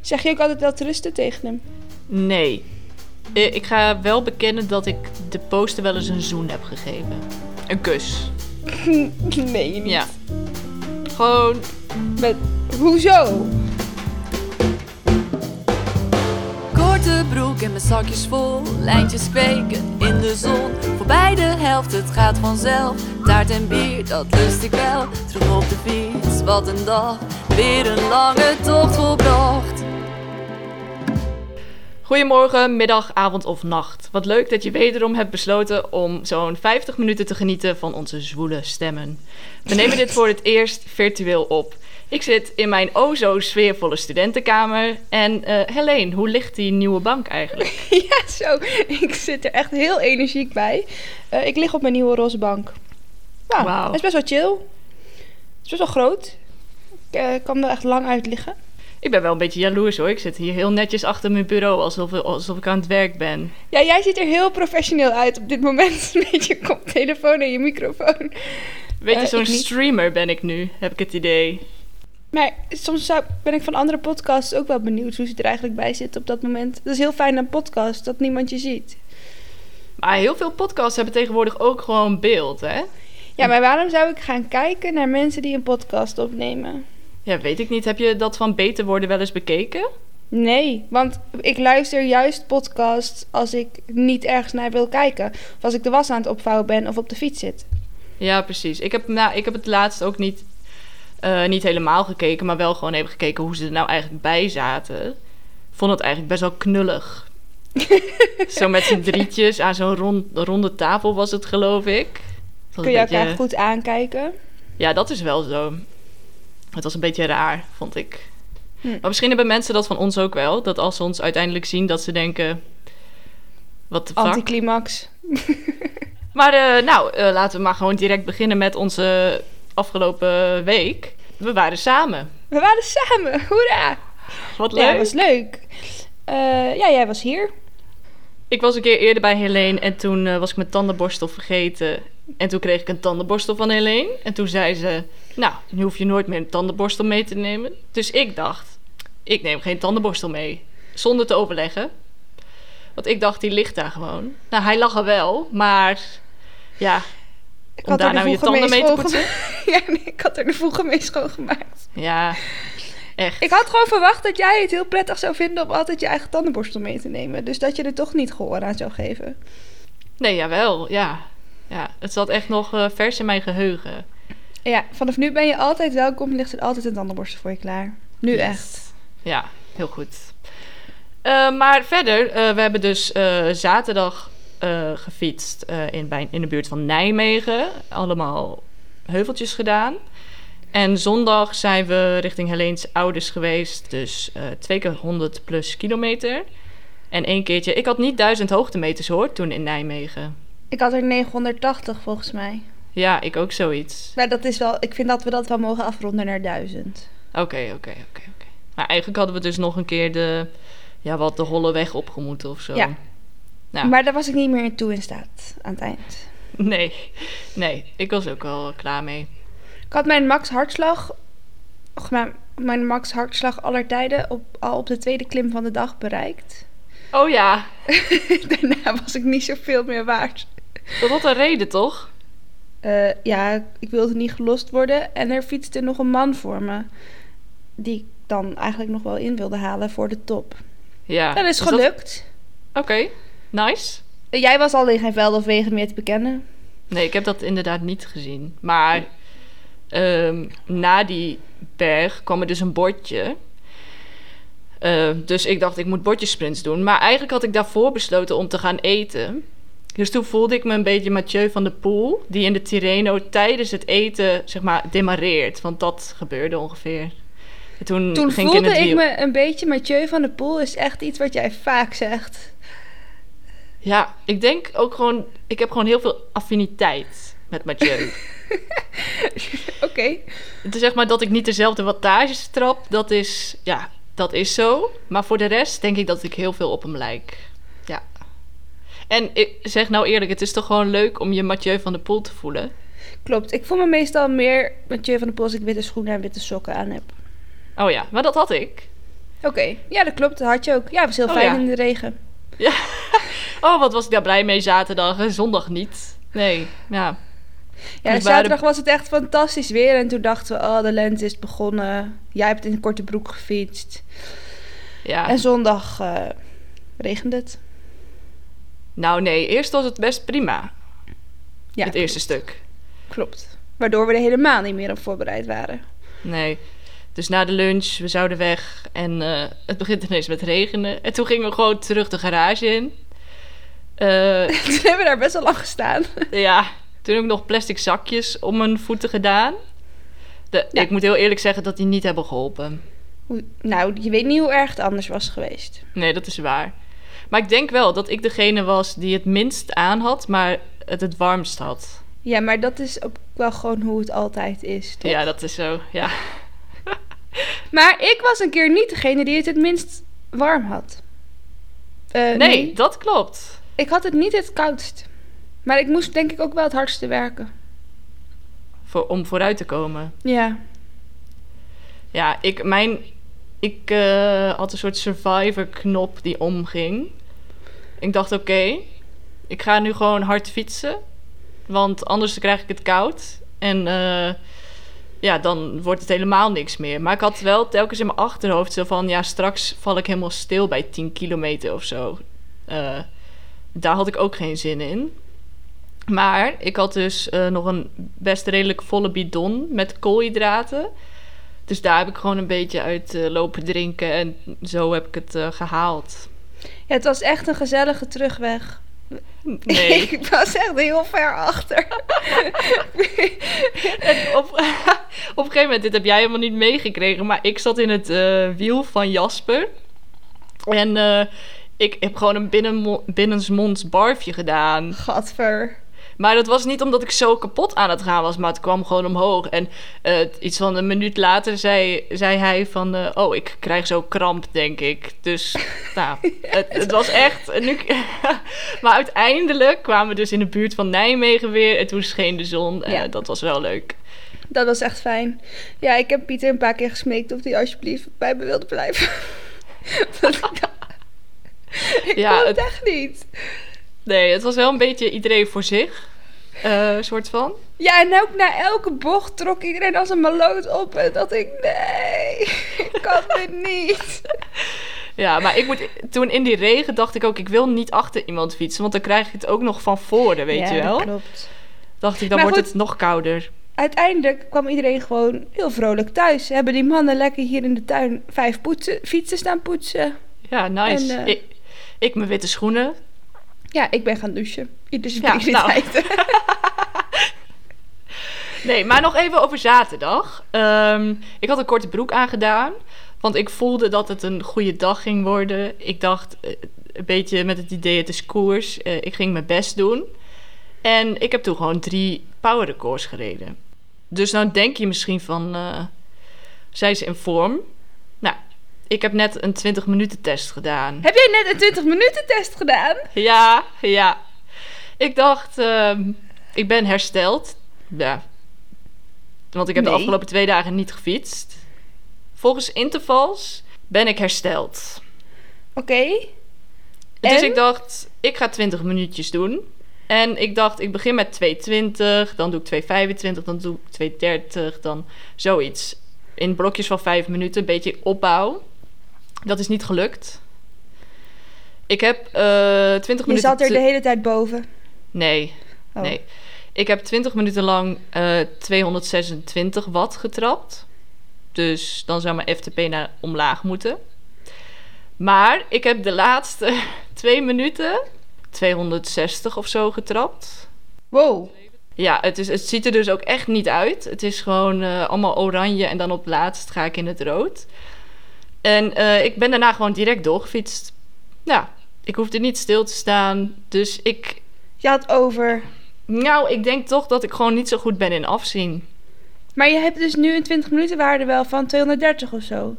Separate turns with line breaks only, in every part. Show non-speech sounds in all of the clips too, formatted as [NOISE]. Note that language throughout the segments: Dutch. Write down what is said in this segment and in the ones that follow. Zeg je ook altijd wel te rusten tegen hem? [LAUGHS]
Nee. Eh, Ik ga wel bekennen dat ik de poster wel eens een zoen heb gegeven. Een kus.
nee, niet.
Ja. Gewoon
Met, hoezo? [LAUGHS]
Korte broek en mijn zakjes vol, lijntjes kweken in de zon. Voorbij de helft, het gaat vanzelf. Taart en bier, dat lust ik wel. Terug op de fiets, wat een dag. Weer een lange tocht volbracht.
Goedemorgen, middag, avond of nacht. Wat leuk dat je wederom hebt besloten om zo'n 50 minuten te genieten van onze zwoele stemmen. We nemen dit
[LAUGHS]
voor het eerst virtueel op. Ik zit in mijn o zo sfeervolle studentenkamer. En eh Helene, hoe ligt die nieuwe bank eigenlijk?
ja, zo. Ik zit er echt heel energiek bij. Eh, ik lig op mijn nieuwe roze bank. Nou,
Wauw.
het is best wel chill. Het is best wel groot. Ik eh, kan er echt lang uit liggen.
Ik ben wel een beetje jaloers hoor. Ik zit hier heel netjes achter mijn bureau alsof, alsof ik aan het werk ben.
Ja, jij ziet er heel professioneel uit op dit moment. [LAUGHS] Met je koptelefoon en je microfoon.
Weet je,
Eh,
zo'n
ik niet.
streamer ben ik nu, heb ik het idee.
Maar soms zou- ben ik van andere podcasts ook wel benieuwd hoe ze er eigenlijk bij zitten op dat moment. Dat is heel fijn aan podcast, dat niemand je ziet.
Maar heel veel podcasts hebben tegenwoordig ook gewoon beeld, hè?
Ja, maar waarom zou ik gaan kijken naar mensen die een podcast opnemen?
Ja, weet ik niet. Heb je dat van beter worden wel eens bekeken?
Nee, want ik luister juist podcasts als ik niet ergens naar wil kijken. Of als ik de was aan het opvouwen ben of op de fiets zit.
Ja, precies. Ik heb, nou, ik heb het laatst ook niet, eh, niet helemaal gekeken, maar wel gewoon even gekeken hoe ze er nou eigenlijk bij zaten. Vond het eigenlijk best wel
[LAUGHS]
knullig. zo met z'n drietjes aan zo'n rond, ronde tafel was het, geloof ik. Het was
Kun je
een
elkaar
beetje-
goed aankijken.
Ja, dat is wel zo. Het was een beetje raar, vond ik.
Hm.
Maar misschien hebben mensen dat van ons ook wel. Dat als ze ons uiteindelijk zien, dat ze denken... Wat de fuck?
Anticlimax.
Maar eh, nou, eh, laten we maar gewoon direct beginnen met onze afgelopen week. We waren samen.
We waren samen, [LAUGHS] hoera!
Wat leuk.
Ja, dat was leuk. Eh, ja, jij was hier.
Ik was een keer eerder bij Helene en toen eh, was ik mijn tandenborstel vergeten. En toen kreeg ik een tandenborstel van Helene. En toen zei ze, nou, nu hoef je nooit meer een tandenborstel mee te nemen. Dus ik dacht, ik neem geen tandenborstel mee. Zonder te overleggen. Want ik dacht, die ligt daar gewoon. Nou, hij lag er wel, maar ja,
Ik
om daar nou je tanden mee te poetsen.
schoongemaakt. [LAUGHS] Ja, nee, ik had er de voegen mee schoongemaakt.
Ja, echt.
Ik had gewoon verwacht dat jij het heel prettig zou vinden om altijd je eigen tandenborstel mee te nemen. Dus dat je er toch niet gehoor aan zou geven.
Nee, jawel, ja. ja. Het zat echt nog eh, vers in mijn geheugen.
Ja, vanaf nu ben je altijd welkom. Ligt er altijd een tandenborstel voor je klaar. Nu
Yes.
echt.
Ja, heel goed. Eh, maar verder, eh, we hebben dus eh, zaterdag eh, gefietst eh, in, bij, in de buurt van Nijmegen. Allemaal heuveltjes gedaan. En zondag zijn we richting Heleens ouders geweest. Dus eh, twee keer 100 plus kilometer. En één keertje, ik had niet 1000 hoogtemeters hoor toen in Nijmegen.
Ik had er 980 volgens mij.
Ja, ik ook zoiets.
Maar dat is wel, ik vind dat we dat wel mogen afronden naar 1000.
Oké, oké, oké, oké. Maar eigenlijk hadden we dus nog een keer de, ja, wat de holle weg opgemoeten of zo.
Ja.
Ja.
Maar daar was ik niet meer in toe in staat aan het eind.
[LAUGHS] Nee, nee, ik was ook wel klaar mee.
Ik had mijn max hartslag, och, mijn, mijn max hartslag aller tijden op, al op de tweede klim van de dag bereikt. [LAUGHS]
Oh ja,
Daarna was ik niet zoveel meer waard.
dat had een reden toch?
Eh, ja, ik wilde niet gelost worden en er fietste nog een man voor me. Die ik dan eigenlijk nog wel in wilde halen voor de top.
Ja.
Dat is
Dus
gelukt.
Oké, nice.
Jij was al in geen velden of wegen meer te bekennen.
Hmm, Nee, ik heb dat inderdaad niet gezien. Maar ehm, na die berg kwam er dus een bordje. Eh, dus ik dacht, ik moet bordjesprints doen. Maar eigenlijk had ik daarvoor besloten om te gaan eten. Dus toen voelde ik me een beetje Mathieu van der Poel... die in de Tirreno tijdens het eten, zeg maar, demareert. Want dat gebeurde ongeveer. En toen
Toen
ging
voelde
ik in het
ik
wiel.
me een beetje Mathieu van de Poel is echt iets wat jij vaak zegt.
Ja, ik denk ook gewoon... Ik heb gewoon heel veel affiniteit met Mathieu.
[LAUGHS] Oké.
Het is zeg maar dat ik niet dezelfde wattages trap. Dat is, ja, dat is zo. Maar voor de rest denk ik dat ik heel veel op hem lijk. Ja. En ik zeg nou eerlijk, het is toch gewoon leuk om je Mathieu van der Poel te voelen?
Klopt. Ik voel me meestal meer Mathieu van de Poel als ik witte schoenen en witte sokken aan heb.
Oh ja, maar dat had ik.
Oké, ja, dat klopt. Dat had je ook. Ja, het was heel
Oh,
fijn
ja.
in de regen.
Oh, wat was ik daar blij mee zaterdag en zondag niet. Nee, ja.
Ja,
Dus we
zaterdag was het echt fantastisch weer. En toen dachten we, oh, de lente is begonnen. Jij hebt in een korte broek gefietst.
ja.
En zondag eh, regende het.
Nou nee, eerst was het best prima,
Ja,
het eerste stuk.
klopt. Waardoor we er helemaal niet meer op voorbereid waren. [LAUGHS]
Nee. Dus na de lunch, we zouden weg en eh, het begint ineens met regenen. En toen gingen we gewoon terug de garage in. Eh,
toen hebben we daar best wel lang gestaan.
ja, toen heb ik nog plastic zakjes om mijn voeten gedaan. De,
Ja.
Ik moet heel eerlijk zeggen dat die niet hebben geholpen.
Hoe- Nou, je weet niet hoe erg het anders was geweest.
Nee, dat is waar. Maar ik denk wel dat ik degene was die het minst aan had, maar het het warmst had.
Ja, maar dat is ook wel gewoon hoe het altijd is. toch?
Ja, dat is zo. Ja.
Maar ik was een keer niet degene die het het minst warm had. Eh,
Nee, dat klopt.
Ik had het niet het koudst. Maar ik moest denk ik ook wel het hardste werken.
Voor, om vooruit te komen.
Ja.
Ja, ik, mijn, ik eh, had een soort survivor-knop die omging. Ik dacht, oké, ik ga nu gewoon hard fietsen. Want anders krijg ik het koud. En eh, ja, dan wordt het helemaal niks meer. Maar ik had wel telkens in mijn achterhoofd zo van... ja, straks val ik helemaal stil bij 10 kilometer of zo. Eh, daar had ik ook geen zin in. Maar ik had dus eh, nog een best redelijk volle bidon met koolhydraten... Dus daar heb ik gewoon een beetje uit eh, lopen drinken en zo heb ik het eh, gehaald.
Ja, het was echt een gezellige terugweg.
Nee.
[LAUGHS] ik was echt heel ver achter.
op, [LAUGHS] op een gegeven moment, dit heb jij helemaal niet meegekregen, maar ik zat in het eh, wiel van Jasper. En eh, ik heb gewoon een binnenmo- binnensmonds barfje gedaan.
Gadver.
Maar dat was niet omdat ik zo kapot aan het gaan was, maar het kwam gewoon omhoog. En eh, iets van een minuut later zei, zei hij van, eh, oh, ik krijg zo kramp, denk ik.
[LAUGHS]
Dus, nou, het, het was echt... Nu, [LAUGHS] maar uiteindelijk kwamen we dus in de buurt van Nijmegen weer en toen scheen de zon. Eh,
Ja.
dat was wel leuk.
Dat was echt fijn. Ja, ik heb Pieter een paar keer gesmeekt of hij alsjeblieft bij me wilde blijven. [LAUGHS] Want ik dacht- ik
Ja,
kon het
het-
echt niet.
Nee, het was wel een beetje iedereen voor zich, eh, soort van.
Ja, en ook na elke bocht trok iedereen als een maloot op. En dat ik, nee, ik kan dit niet.
Ja, maar ik moet, toen in die regen dacht ik ook, ik wil niet achter iemand fietsen, want dan krijg ik het ook nog van voren, [LAUGHS] weet je wel.
klopt.
Dacht ik, dan
Maar
wordt
goed.
het nog kouder.
Uiteindelijk kwam iedereen gewoon heel vrolijk thuis. Hebben die mannen lekker hier in de tuin vijf poetsen, fietsen staan poetsen.
Ja, nice.
En, eh,
ik, ik mijn witte schoenen.
Ja, ik ben gaan douchen. Iedere
Ja, nou.
prioriteiten.
Nee, maar nog even over zaterdag. Ehm, ik had een korte broek aangedaan. Want ik voelde dat het een goede dag ging worden. Ik dacht eh, een beetje met het idee, het is koers. Eh, ik ging mijn best doen. En ik heb toen gewoon drie power records gereden. Dus dan denk je misschien van, eh zijn ze in vorm? Nou, ik heb net een 20 minuten test gedaan.
[LAUGHS] Heb jij net een 20 minuten test gedaan?
Ja, ja. Ik dacht, ehm, ik ben hersteld. Ja. Want ik heb
Nee.
de afgelopen twee dagen niet gefietst. Volgens intervals ben ik hersteld.
Oké.
Dus
En?
ik dacht, ik ga 20 minuutjes doen. En ik dacht, ik begin met 2,20, dan doe ik 2,25, dan doe ik 2,30, dan zoiets. In blokjes van 5 minuten, een beetje opbouw. Dat is niet gelukt. Ik heb eh 20
Je
minuten...
zat er
te-
de hele tijd boven.
Nee,
Oh.
Nee. Ik heb 20 minuten lang eh, 226 watt getrapt. Dus dan zou mijn FTP naar omlaag moeten. Maar ik heb de laatste [LAUGHS] twee minuten 260 of zo getrapt.
Wow.
Ja, het, is, het ziet er dus ook echt niet uit. Het is gewoon eh, allemaal oranje en dan op het laatst ga ik in het rood. En eh, ik ben daarna gewoon direct doorgefietst. Ja, ik hoefde niet stil te staan. Dus ik,
Je had over.
nou, ik denk toch dat ik gewoon niet zo goed ben in afzien.
Maar je hebt dus nu een 20 minuten waarde wel van 230 of zo.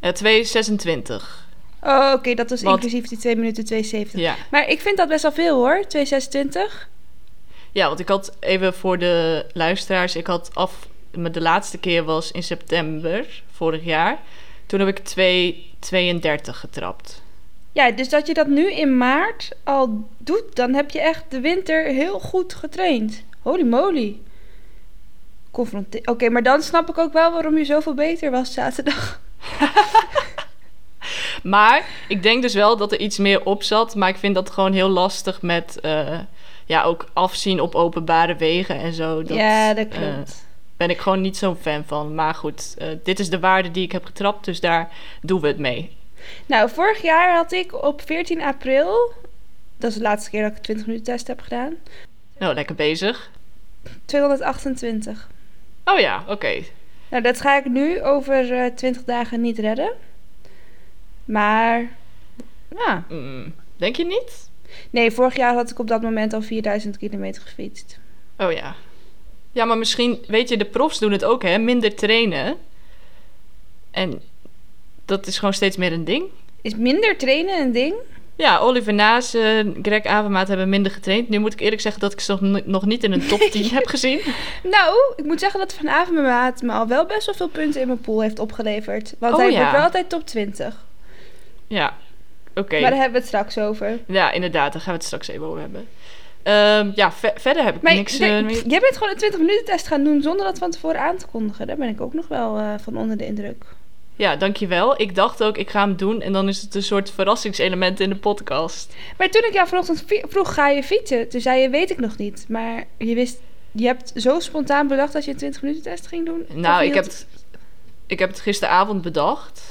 Eh, 226.
Oh, oké, dat was
Want-
inclusief die 2 minuten 270.
Ja.
Maar ik vind dat best wel veel hoor, 226.
ja, want ik had even voor de luisteraars, ik had af, maar de laatste keer was in september vorig jaar. Toen Toen heb ik 2,32 getrapt.
Ja, dus dat je dat nu in maart al doet, dan heb je echt de winter heel goed getraind. Holy moly. Confronte- Oké, maar dan snap ik ook wel waarom je zoveel beter was zaterdag.
Maar ik denk dus wel dat er iets meer op zat. Maar ik vind dat gewoon heel lastig met eh, ja, ook afzien op openbare wegen en zo. Dat,
ja, dat
eh,
klopt.
ben ik gewoon niet zo'n fan van. Maar goed, eh, dit is de waarde die ik heb getrapt. Dus daar doen we het mee.
Nou, vorig jaar had ik op 14 april, dat is de laatste keer dat ik een 20 minuten test heb gedaan,
Nou, lekker bezig.
228.
Oh ja, oké.
Nou, dat ga ik nu over eh 20 dagen niet redden. Maar, ja.
Mm, denk je niet?
Nee, vorig jaar had ik op dat moment al 4000 kilometer gefietst.
Oh ja. Ja, maar misschien, weet je, de profs doen het ook, hè? Minder trainen. En dat is gewoon steeds meer een ding.
Is minder trainen een ding?
Ja, Oliver Naas en Greg Avermaat hebben minder getraind. Nu moet ik eerlijk zeggen dat ik ze nog n- nog niet in een top
[LAUGHS]
10 heb gezien.
Nou, ik moet zeggen dat vanavond mijn maat me al wel best wel veel punten in mijn pool heeft opgeleverd. Want
Oh,
hij
ja.
wordt wel altijd top 20.
Ja, oké.
Maar daar hebben we het straks over.
Ja, inderdaad, daar gaan we het straks even over hebben. Ehm, ja, ve- verder heb ik
Maar
niks
jij-
eh, meer.
jij bent gewoon een 20 minuten test gaan doen zonder dat van tevoren aan te kondigen. Daar ben ik ook nog wel eh, van onder de indruk.
Ja, dankjewel. Ik dacht ook, ik ga hem doen. En dan is het een soort verrassingselement in de podcast.
Maar toen ik jou vanochtend vi- vroeg, ga je fietsen? Toen zei je, weet ik nog niet. Maar je wist, je hebt zo spontaan bedacht dat je een 20 minuten test ging doen. Of
Nou,
je
ik heb,
had-
het, ik heb het gisteravond bedacht.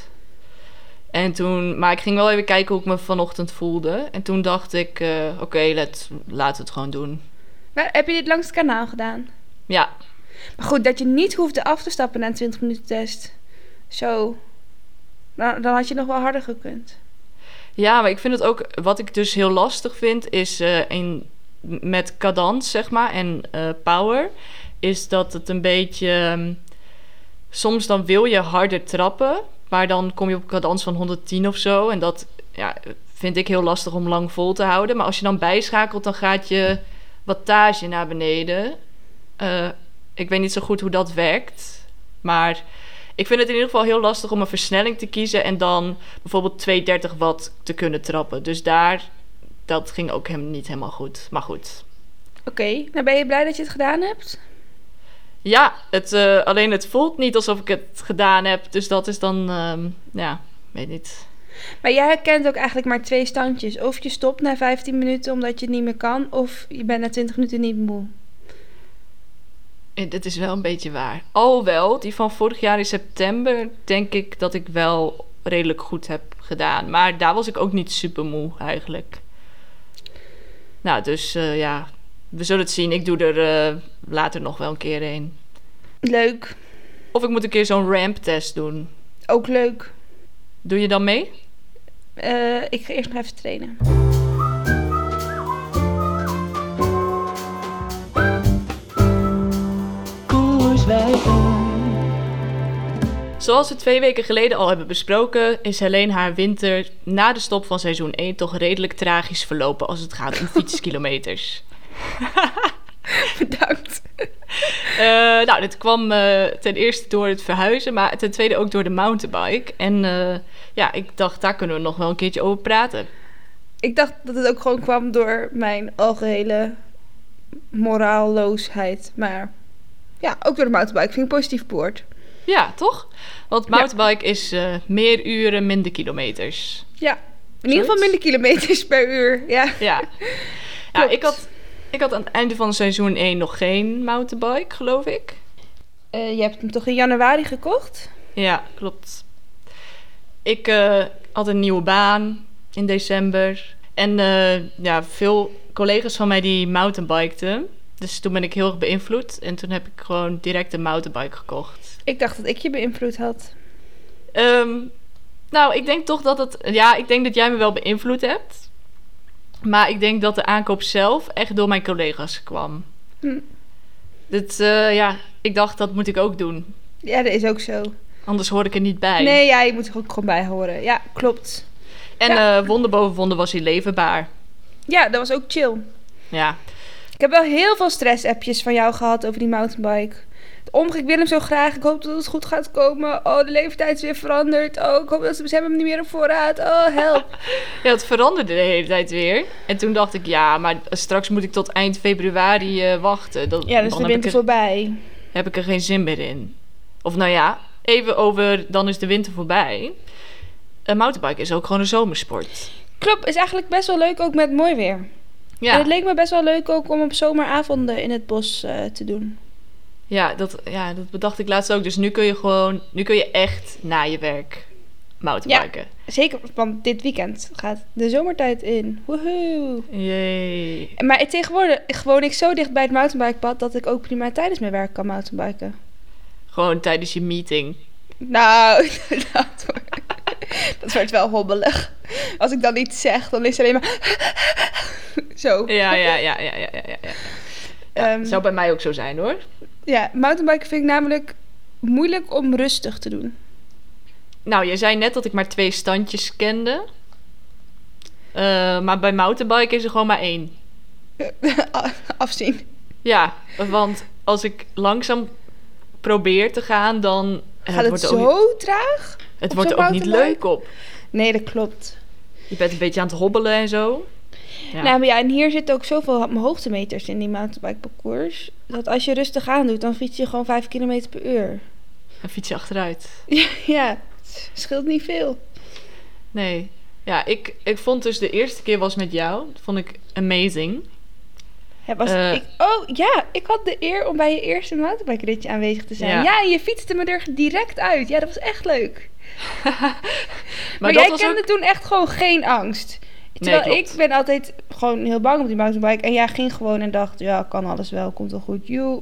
En toen, maar ik ging wel even kijken hoe ik me vanochtend voelde. En toen dacht ik, eh, oké, let- laten we het gewoon doen.
Maar heb je dit langs het kanaal gedaan?
Ja,
Maar goed, dat je niet hoefde af te stappen na een 20 minuten test. Zo. Dan, dan had je nog wel harder gekund.
Ja, maar ik vind het ook... Wat ik dus heel lastig vind, is eh, in, met cadans, zeg maar, en eh, power... is dat het een beetje... ehm, soms dan wil je harder trappen... maar dan kom je op cadans van 110 of zo... en dat ja, vind ik heel lastig om lang vol te houden. Maar als je dan bijschakelt, dan gaat je wattage naar beneden. Eh, ik weet niet zo goed hoe dat werkt, maar... Ik vind het in ieder geval heel lastig om een versnelling te kiezen en dan bijvoorbeeld 230 watt te kunnen trappen. Dus daar, dat ging ook hem niet helemaal goed. Maar goed.
Oké, nou ben je blij dat je het gedaan hebt?
Ja, het, eh, alleen het voelt niet alsof ik het gedaan heb. Dus dat is dan, ehm, ja, weet niet.
Maar jij herkent ook eigenlijk maar twee standjes. Of je stopt na 15 minuten omdat je het niet meer kan, of je bent na 20 minuten niet moe.
Eh, Dit is wel een beetje waar. Alhoewel, die van vorig jaar in september denk ik dat ik wel redelijk goed heb gedaan. Maar daar was ik ook niet super moe eigenlijk. Nou, dus eh, ja, we zullen het zien. Ik doe er eh, later nog wel een keer een.
Leuk.
Of ik moet een keer zo'n ramp-test doen.
Ook leuk.
Doe je dan mee?
Eh, ik ga eerst nog even trainen.
Zoals we twee weken geleden al hebben besproken, is Helene haar winter na de stop van seizoen 1 toch redelijk tragisch verlopen als het gaat om fietskilometers.
[LAUGHS] Bedankt.
Eh, nou, dit kwam eh, ten eerste door het verhuizen, maar ten tweede ook door de mountainbike. En eh, ja, ik dacht, daar kunnen we nog wel een keertje over praten.
Ik dacht dat het ook gewoon kwam door mijn algehele moraalloosheid. Maar ja, ook door de mountainbike. Vind ik een positief woord.
Ja, toch? Want mountainbike is eh, meer uren, minder kilometers.
Ja. In ieder geval
Zoiets?
minder kilometers per uur. Ja.
Ja. ja
Klopt.
ik, had, ik had aan het einde van seizoen 1 nog geen mountainbike, geloof ik.
Eh, je hebt hem toch in januari gekocht?
Ja, klopt. Ik eh, had een nieuwe baan in december. En eh, ja, veel collega's van mij die mountainbikten. Dus toen ben ik heel erg beïnvloed. En toen heb ik gewoon direct een mountainbike gekocht.
Ik dacht dat ik je beïnvloed had.
Ehm, nou, ik denk toch dat het... Ja, ik denk dat jij me wel beïnvloed hebt. Maar ik denk dat de aankoop zelf echt door mijn collega's kwam.
Hm.
Dat, eh, ja, ik dacht dat moet ik ook doen.
Ja, dat is ook zo.
Anders hoor ik er niet bij.
Nee, ja, je moet er ook gewoon bij horen. Ja, klopt.
En eh, wonder boven wonder was hij leverbaar.
Ja, dat was ook chill.
Ja,
Ik heb wel heel veel stress-appjes van jou gehad over die mountainbike. Omge, ik wil hem zo graag. Ik hoop dat het goed gaat komen. Oh, de leeftijd is weer veranderd. Oh, ik hoop dat ze, ze hebben hem niet meer op voorraad. Oh, help.
Ja, het veranderde de hele tijd weer. En toen dacht ik, ja, maar straks moet ik tot eind februari eh, wachten. Dat,
[LAUGHS] Ja, dus
dan
de
heb ik,
winter
er,
voorbij.
heb ik er geen zin meer in. Of nou ja, even over, dan is de winter voorbij. Een mountainbike is ook gewoon een zomersport.
Klopt, is eigenlijk best wel leuk ook met mooi weer. En
Ja,
het leek me best wel leuk ook om op zomeravonden in het bos eh, te doen.
ja, dat, ja, dat bedacht ik laatst ook. Dus nu kun je gewoon, nu kun je echt na je werk mountainbiken.
Zeker, want dit weekend gaat de zomertijd in. Woehoe.
Jee.
Maar het- tegenwoordig woon ik zo dicht bij het mountainbikepad dat ik ook prima tijdens mijn werk kan mountainbiken.
Gewoon tijdens je meeting.
Nou, [LAUGHS] dat wordt, dat wordt wel hobbelig. Als ik dan iets zeg, dan is het alleen maar... [LAUGHS] zo.
Ja, ja, ja, ja, ja, ja. ja.
Ehm,
Zou bij mij ook zo zijn hoor.
ja, mountainbiken vind ik namelijk moeilijk om rustig te doen. [LAUGHS]
Nou, je zei net dat ik maar twee standjes kende. Eh, maar bij mountainbike is er gewoon maar één.
Afzien.
Ja, want als ik langzaam probeer te gaan, dan eh,
Gaat het,
wordt er ook,
zo traag?
het
op
wordt er
zo'n
ook niet leuk
mountainbike?
op.
Nee, dat klopt.
Je bent een beetje aan het hobbelen en zo. Ja.
Nou maar ja, en hier zitten ook zoveel ho- hoogtemeters in die mountainbikeparcours. Dat als je rustig aan doet, dan fiets je gewoon 5 km per uur.
En fiets je achteruit.
[LAUGHS] ja, het scheelt niet veel.
Nee. Ja, ik, ik vond dus de eerste keer was met jou. Dat vond ik amazing. [LAUGHS]
Ja, was
Eh.
ik, oh ja, ik had de eer om bij je eerste mountainbike ritje aanwezig te zijn.
Ja.
Ja. en je fietste me er direct uit. Ja, dat was echt leuk.
Maar,
Maar,
dat
jij
was
kende
ook...
toen echt gewoon geen angst. Terwijl
klopt.
ik ben altijd gewoon heel bang op die mountainbike. En jij ging gewoon en dacht, ja, kan alles wel, komt wel goed. Joe.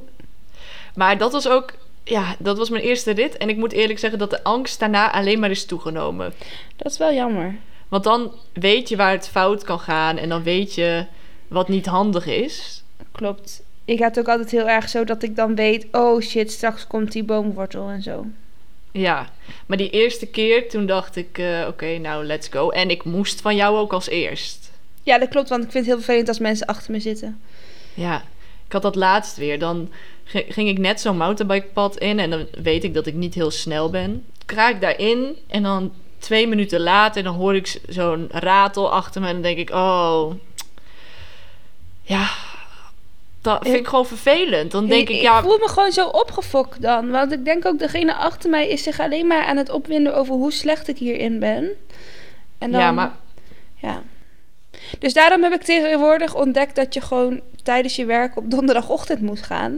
Maar dat was ook... Ja, dat was mijn eerste rit. En ik moet eerlijk zeggen dat de angst daarna alleen maar is toegenomen.
Dat is wel jammer.
Want dan weet je waar het fout kan gaan en dan weet je wat niet handig is.
Klopt. Ik had ook altijd heel erg zo dat ik dan weet... oh shit, straks komt die boomwortel en zo.
Ja, maar die eerste keer toen dacht ik, eh, oké, nou let's go. En ik moest van jou ook als eerst.
Ja, dat klopt, want ik vind het heel vervelend als mensen achter me zitten.
Ja, ik had dat laatst weer. Dan gi- ging ik net zo'n mountainbikepad in en dan weet ik dat ik niet heel snel ben. Kraak daarin en dan twee minuten later dan hoor ik z- zo'n ratel achter me en dan denk ik, oh, ja, dat vind ik gewoon vervelend. Dan denk ik, ja,
ik voel me gewoon zo opgefokt dan. Want ik denk ook, degene achter mij is zich alleen maar aan het opwinden... over hoe slecht ik hierin ben. En dan,
ja, maar
Ja. Dus daarom heb ik tegenwoordig ontdekt dat je gewoon tijdens je werk op donderdagochtend moet gaan.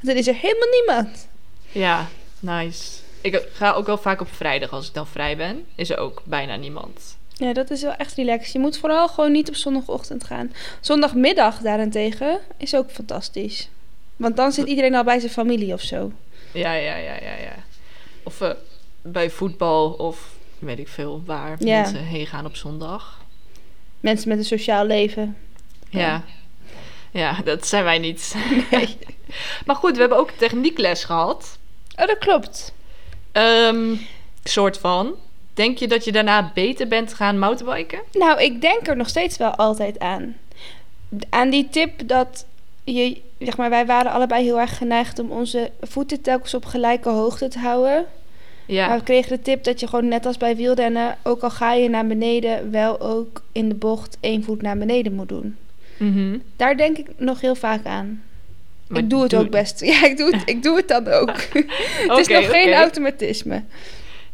Want dan is er helemaal niemand.
Ja, nice. Ik ga ook wel vaak op vrijdag als ik dan vrij ben. Is er ook bijna niemand.
Ja, dat is wel echt relaxed. Je moet vooral gewoon niet op zondagochtend gaan. Zondagmiddag daarentegen is ook fantastisch. Want dan zit iedereen al bij zijn familie of zo.
Ja, ja, ja, ja, ja. Of eh, bij voetbal of weet ik veel waar
Ja.
mensen heen gaan op zondag.
Mensen met een sociaal
[LAUGHS]
leven.
Ja.
Ja.
ja. dat zijn wij niet. maar goed, we hebben ook techniekles gehad.
Oh, dat klopt.
Ehm, soort van. Denk je dat je daarna beter bent gaan mountainbiken?
Nou, ik denk er nog steeds wel altijd aan. Aan die tip dat je, zeg maar, wij waren allebei heel erg geneigd om onze voeten telkens op gelijke hoogte te houden.
Ja.
Maar we kregen de tip dat je gewoon net als bij wielrennen, ook al ga je naar beneden, wel ook in de bocht één voet naar beneden moet doen.
Mhm.
Daar denk ik nog heel vaak aan.
Maar
ik doe het ook best. [LAUGHS] Ja, ik doe het, ik doe het dan
[LAUGHS]
ook. het is
Oké,
nog geen
oké.
automatisme.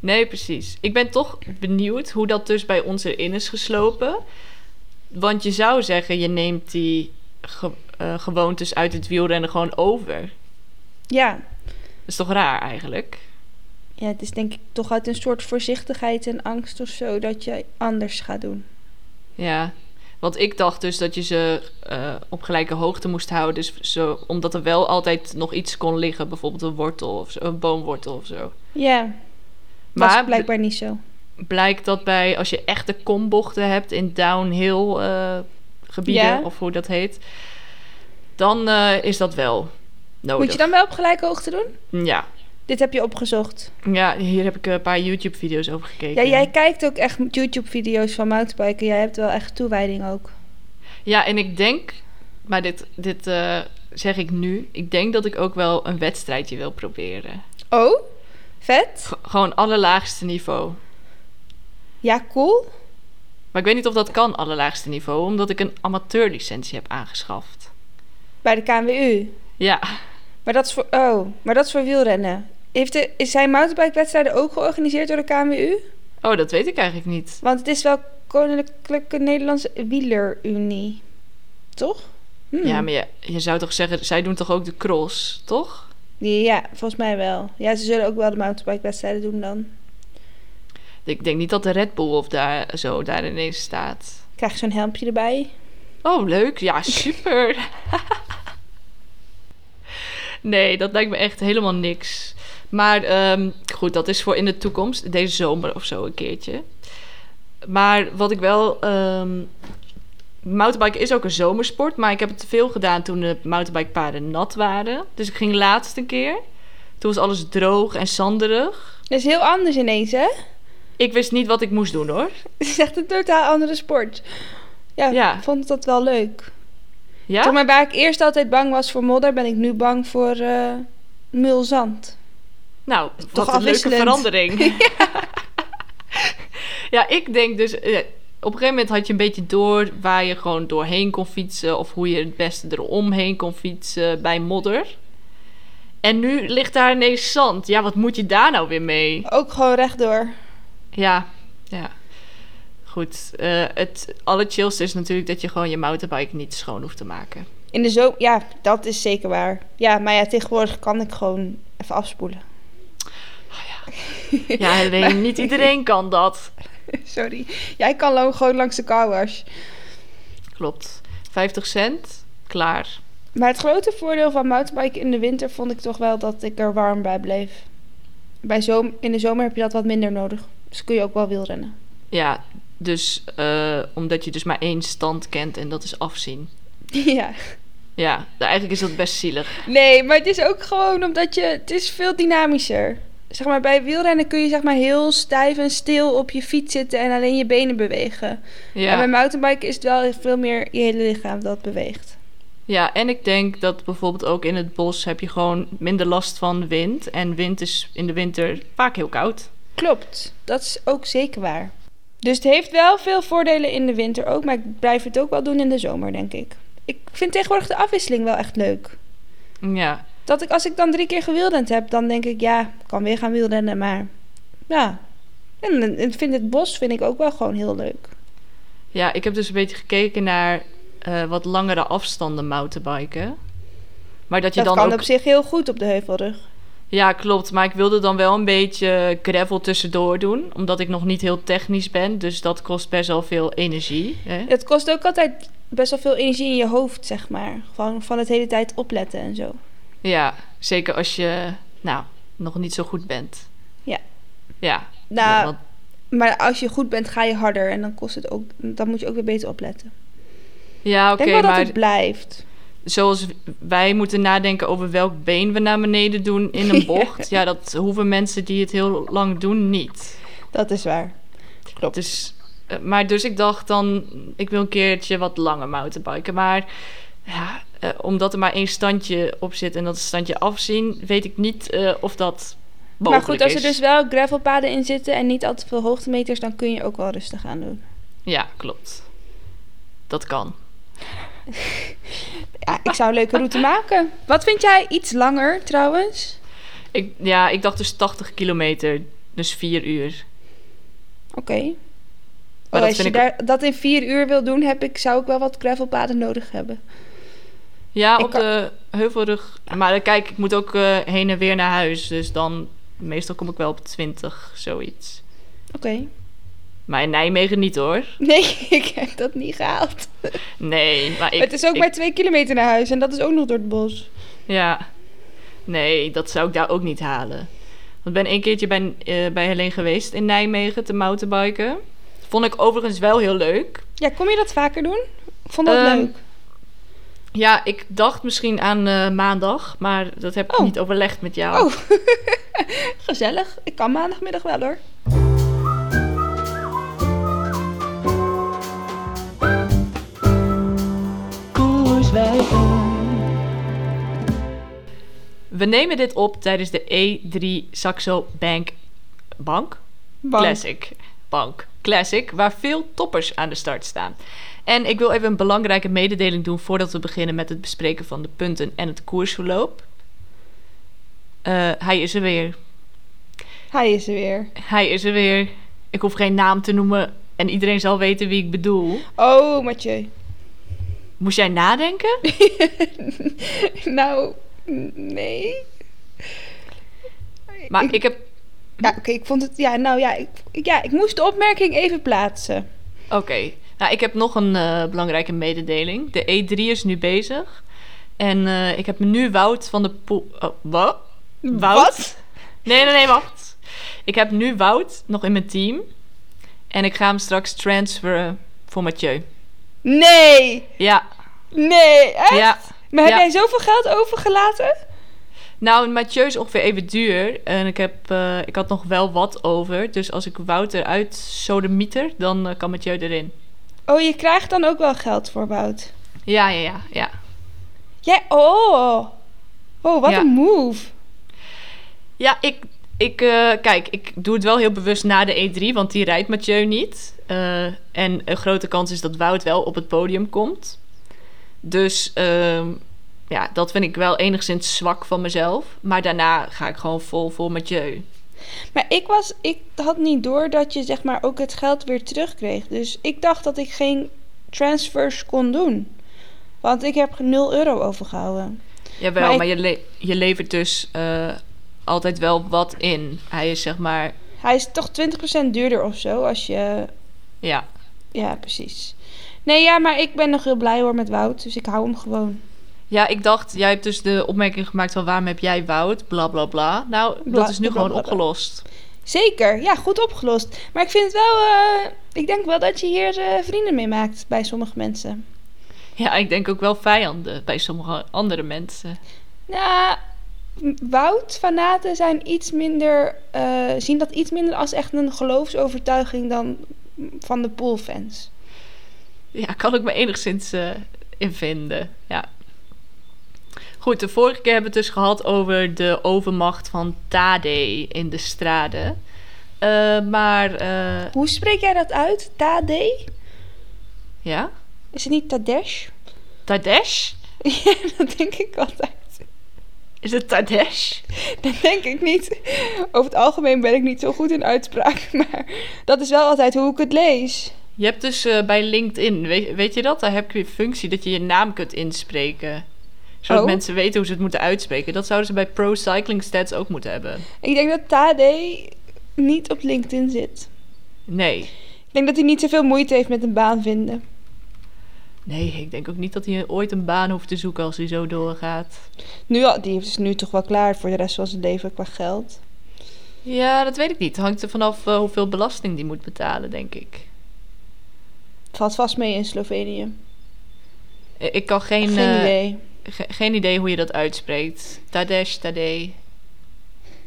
Nee, precies. Ik ben toch benieuwd hoe dat dus bij ons erin is geslopen. Want je zou zeggen, je neemt die ge- eh, gewoontes uit het wielrennen gewoon over. Dat
Ja.
is toch raar eigenlijk?
ja, het is denk ik toch uit een soort voorzichtigheid en angst of zo dat je anders gaat doen.
Ja. Want ik dacht dus dat je ze eh, op gelijke hoogte moest houden. Dus zo, omdat er wel altijd nog iets kon liggen. Bijvoorbeeld een wortel of zo, een boomwortel of zo.
Ja, maar
Maar
was blijkbaar niet zo.
bl- blijkt dat bij als je echte kombochten hebt in downhill eh, gebieden
Ja.
of hoe dat heet, dan eh, is dat wel nodig.
Moet je dan wel op gelijke hoogte doen?
Ja.
Dit heb je opgezocht.
ja, hier heb ik een paar YouTube-video's over
Ja,
gekeken.
jij kijkt ook echt YouTube-video's van mountainbiken. Jij hebt wel echt toewijding ook.
Ja, en ik denk, maar dit, dit eh, zeg ik nu, ik denk dat ik ook wel een wedstrijdje wil proberen.
Oh, vet.
G- gewoon allerlaagste niveau.
Ja, cool.
Maar ik weet niet of dat kan, allerlaagste niveau, omdat ik een amateurlicentie heb aangeschaft.
Bij de KNWU.
Ja,
Maar dat is voor, oh, maar dat is voor wielrennen. Heeft de, is zijn mountainbikewedstrijden ook georganiseerd door de KNWU?
oh, dat weet ik eigenlijk niet.
Want het is wel Koninklijke Nederlandse Wielerunie. Toch? Hmm.
Ja, maar je, je zou toch zeggen, zij doen toch ook de cross, toch?
Ja, volgens mij wel. Ja, ze zullen ook wel de mountainbikewedstrijden doen dan.
Ik denk niet dat de Red Bull of daar, zo daar ineens staat.
Krijg je zo'n helmpje erbij.
Oh, leuk. Ja, super. nee, dat lijkt me echt helemaal niks. Maar ehm, goed, dat is voor in de toekomst. Deze zomer of zo een keertje. Maar wat ik wel... ehm mountainbiken is ook een zomersport. Maar ik heb het te veel gedaan toen de mountainbikepaden nat waren. Dus ik ging laatst een keer. Toen was alles droog en zanderig.
Dat is heel anders ineens, hè?
Ik wist niet wat ik moest doen hoor.
Het is echt een totaal andere sport. Ja,
Ja.
ik vond dat wel leuk.
Ja?
Toch maar waar ik eerst altijd bang was voor modder, ben ik nu bang voor eh mulzand.
Nou,
Toch
wat een leuke
afwisselend.
verandering.
[LAUGHS]
ja. [LAUGHS] ik denk dus... eh, op een gegeven moment had je een beetje door waar je gewoon doorheen kon fietsen... of hoe je het beste eromheen kon fietsen bij modder. En nu ligt daar ineens zand. Ja, wat moet je daar nou weer mee?
Ook gewoon rechtdoor.
Ja, ja. Goed, eh, het allerchillste is natuurlijk dat je gewoon je mountainbike niet schoon hoeft te
[LAUGHS]
maken.
In de zomer, ja, dat is zeker waar. Ja, maar ja, tegenwoordig kan ik gewoon even afspoelen. [LAUGHS]
Ja, alleen niet iedereen kan dat.
Sorry. Jij kan lo- gewoon langs de carwash.
Klopt. 50 cent, klaar.
Maar het grote voordeel van mountainbiken in de winter vond ik toch wel dat ik er warm bij bleef. Bij zom- in de zomer heb je dat wat minder nodig. Dus kun je ook wel wielrennen. [LAUGHS]
Ja, dus eh, omdat je dus maar één stand kent en dat is afzien.
ja.
Ja, nou, eigenlijk is dat best zielig.
Nee, maar het is ook gewoon omdat je... Het is veel dynamischer. Zeg maar, bij wielrennen kun je zeg maar heel stijf en stil op je fiets zitten en alleen je benen bewegen. En bij
Ja.
mountainbiken is het wel veel meer je hele lichaam dat beweegt.
ja, en ik denk dat bijvoorbeeld ook in het bos heb je gewoon minder last van wind. En wind is in de winter vaak heel koud.
Klopt, dat is ook zeker waar. Dus het heeft wel veel voordelen in de winter ook, maar ik blijf het ook wel doen in de zomer, denk ik. Ik vind tegenwoordig de afwisseling wel echt leuk.
Ja,
Dat ik, als ik dan drie keer gewildend heb, dan denk ik, ja, ik kan weer gaan wielrennen, maar ja. En, en ik vind het bos vind ik ook wel gewoon heel leuk.
ja ik heb dus een beetje gekeken naar eh, wat langere afstanden mountainbiken. Maar dat je
Dat
dan
kan
ook...
op zich heel goed op de heuvelrug.
Ja, klopt. Maar ik wilde dan wel een beetje gravel tussendoor doen. Omdat ik nog niet heel technisch ben. Dus dat kost best wel veel energie. Hè?
Het kost ook altijd best wel veel energie in je hoofd, zeg maar. Gewoon van het hele tijd opletten en zo.
Ja, zeker als je nou, nog niet zo goed bent.
Ja.
Ja. ja,
Nou,
want-
maar als je goed bent, ga je harder en dan kost het ook, dan moet je ook weer beter opletten.
ja
Ik
oké,
denk wel dat
maar
het blijft.
zoals wij moeten nadenken over welk been we naar beneden doen in een
[LAUGHS] Ja.
bocht. ja, dat hoeven mensen die het heel lang doen niet.
Dat is waar. Klopt.
Dus, eh, maar dus ik dacht dan, ik wil een keertje wat langer mountainbiken. Maar ja, eh, omdat er maar één standje op zit en dat is standje afzien, weet ik niet eh, of dat
Maar goed,
mogelijk
als er
is.
dus wel gravelpaden in zitten en niet al te veel hoogtemeters, dan kun je ook wel rustig aan doen.
Ja, klopt. Dat kan.
Ja, ik zou een leuke [LAUGHS] route maken. Wat vind jij iets langer trouwens?
Ik, ja, ik dacht dus 80 kilometer, dus 4 uur.
Oké.
Maar
Oh,
dat
als je
vind ik-
daar, dat in vier uur wil doen, heb ik, zou ik wel wat gravelpaden nodig hebben.
Ja,
Ik
op
kan-
de heuvelrug. Maar dan kijk, ik moet ook eh, heen en weer naar huis. Dus dan, meestal kom ik wel op 20, zoiets.
Oké.
Maar in Nijmegen niet hoor.
[LAUGHS] Nee, ik heb dat niet gehaald.
Nee, maar ik...
het is ook
ik-
maar twee kilometer naar huis en dat is ook nog door het bos.
Ja. Nee, dat zou ik daar ook niet halen. Want ik ben een keertje bij, eh, bij Helene geweest in Nijmegen te mountainbiken. Vond ik overigens wel heel leuk.
Ja, kom je dat vaker doen? Ik vond dat
Ehm,
leuk.
Ja, ik dacht misschien aan eh, maandag, maar dat heb ik
Oh.
niet overlegd met jou.
Oh, [LAUGHS] gezellig. Ik kan maandagmiddag wel hoor.
koers wij om.
We nemen dit op tijdens de E3 Saxo Bank... Bank?
Bank.
Classic. Bank. Classic, waar veel toppers aan de start staan. En ik wil even een belangrijke mededeling doen voordat we beginnen met het bespreken van de punten en het koersverloop. Eh, hij is er weer.
Hij is er weer.
Hij is er weer. Ik hoef geen naam te noemen en iedereen zal weten wie ik bedoel.
Oh, Mathieu. [LAUGHS]
Moest jij nadenken?
nou, n- nee.
Maar ik, heb.
Ja, oké, ik vond het... Ja, nou ja ik, ja, ik moest de opmerking even plaatsen.
Oké. Nou, ik heb nog een eh, belangrijke mededeling. De E3 is nu bezig. En eh, ik heb nu Wout van de Poel. Oh, wat? Wout?
Wat?
Nee, nee, nee, wacht. Ik heb nu Wout nog in mijn team. En ik ga hem straks transferen voor Mathieu.
Nee!
Ja,
Nee, echt?
ja.
Maar heb
Ja.
jij zoveel geld overgelaten?
Nou, Mathieu is ongeveer even duur. En ik, heb, eh, ik had nog wel wat over. Dus als ik Wout eruit sodemieter, dan eh, kan Mathieu erin.
Oh, je krijgt dan ook wel geld voor Wout.
Ja, ja, ja, ja.
Jij... Oh! Oh, wat
Ja.
een move.
Ja, ik, ik eh, kijk, ik doe het wel heel bewust na de E3, want die rijdt Mathieu niet. Eh, en een grote kans is dat Wout wel op het podium komt. Dus ehm, ja, dat vind ik wel enigszins zwak van mezelf. Maar daarna ga ik gewoon vol voor Mathieu.
Maar ik, was, ik had niet door dat je zeg maar ook het geld weer terugkreeg. Dus ik dacht dat ik geen transfers kon doen. Want ik heb 0 euro overgehouden.
Jawel,
Maar
maar,
ik-
je, le- je levert dus eh, altijd wel wat in. Hij is zeg maar,
Hij is toch 20% duurder of zo als je...
ja.
Ja, precies. Nee, ja, maar ik ben nog heel blij hoor met Wout. Dus ik hou hem gewoon.
Ja, ik dacht, jij hebt dus de opmerking gemaakt van waarom heb jij Wout, bla bla bla. Nou,
Bla-
dat is nu
bla,
gewoon
bla, bla.
opgelost.
Zeker, ja, goed opgelost. Maar ik vind het wel... eh, ik denk wel dat je hier eh, vrienden mee maakt bij sommige mensen.
Ja, ik denk ook wel vijanden bij sommige andere mensen.
Nou, m- Wout-fanaten zijn iets minder, eh, zien dat iets minder als echt een geloofsovertuiging dan mm, van de poolfans.
Ja, kan ik me enigszins eh, in vinden. Ja. Goed, de vorige keer hebben we het dus gehad over de overmacht van Tade in de straden. Eh, maar, eh,
Hoe spreek jij dat uit? Tade?
ja,
Is het niet Tadesh? [LAUGHS]
Tadesh?
ja, dat denk ik altijd.
Is het Tadesh?
Dat denk ik niet. Over het algemeen ben ik niet zo goed in uitspraak, [LAUGHS] maar dat is wel altijd hoe ik het lees.
Je hebt dus eh, bij LinkedIn, weet, weet je dat? Daar heb je een functie dat je je naam kunt inspreken. Zodat
Oh.
mensen weten hoe ze het moeten uitspreken. Dat zouden ze bij Pro Cycling Stats ook moeten hebben.
Ik denk dat Tade niet op LinkedIn zit.
Nee,
Ik denk dat hij niet zoveel moeite heeft met een baan vinden.
Nee, ik denk ook niet dat hij ooit een baan hoeft te zoeken als hij zo doorgaat.
Nu, al- die is nu toch wel klaar voor de rest van zijn leven qua geld.
Ja, dat weet ik niet. Hangt er vanaf eh, hoeveel belasting die moet betalen, denk ik.
Valt vast mee in Slovenië.
Eh, Ik kan geen,
Geen
eh,
idee.
ge- geen idee hoe je dat uitspreekt. Tadesh, Tadej.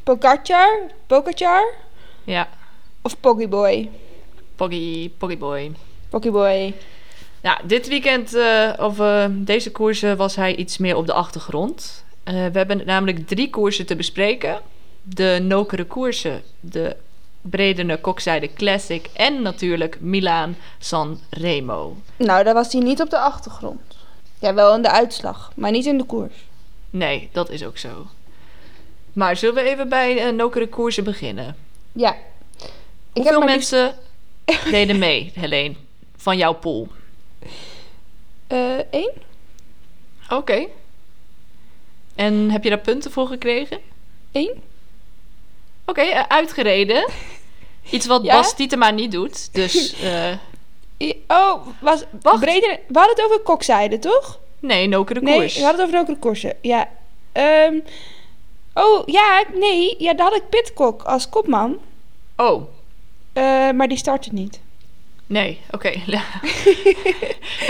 Pogacar? Pogacar?
Ja,
Of Poggyboy?
Poggy, Poggyboy.
Poggyboy.
Nou, dit weekend, eh, of eh, deze koersen, was hij iets meer op de achtergrond. Eh, we hebben namelijk drie koersen te bespreken. De Nokere koersen, de Bredene Kokzijde Classic en natuurlijk Milaan San Remo.
Nou, daar was hij niet op de achtergrond. Ja, wel in de uitslag, maar niet in de koers.
Nee, dat is ook zo. Maar zullen we even bij eh, nokere koersen beginnen?
Ja. Ik
Hoeveel
maar liefst- [LAUGHS]
mensen deden mee, Helene, van jouw pool?
Eh, één?
Oké. En heb je daar punten voor gekregen?
Eén?
Oké, eh,
[LAUGHS]
uitgereden. Iets wat
Ja?
Bas Tietema niet doet.
[LAUGHS]
Dus eh,
I- Oh, was...
Wacht.
Breder... We hadden het over kokzijde, toch?
nee, nokere
Nee,
koers.
we hadden het over ook de koersen. Ja. Ehm, Oh, ja, nee. Ja, daar had ik Pitcock als kopman.
Oh,
Eh, maar die startte niet.
nee, oké. [LAUGHS]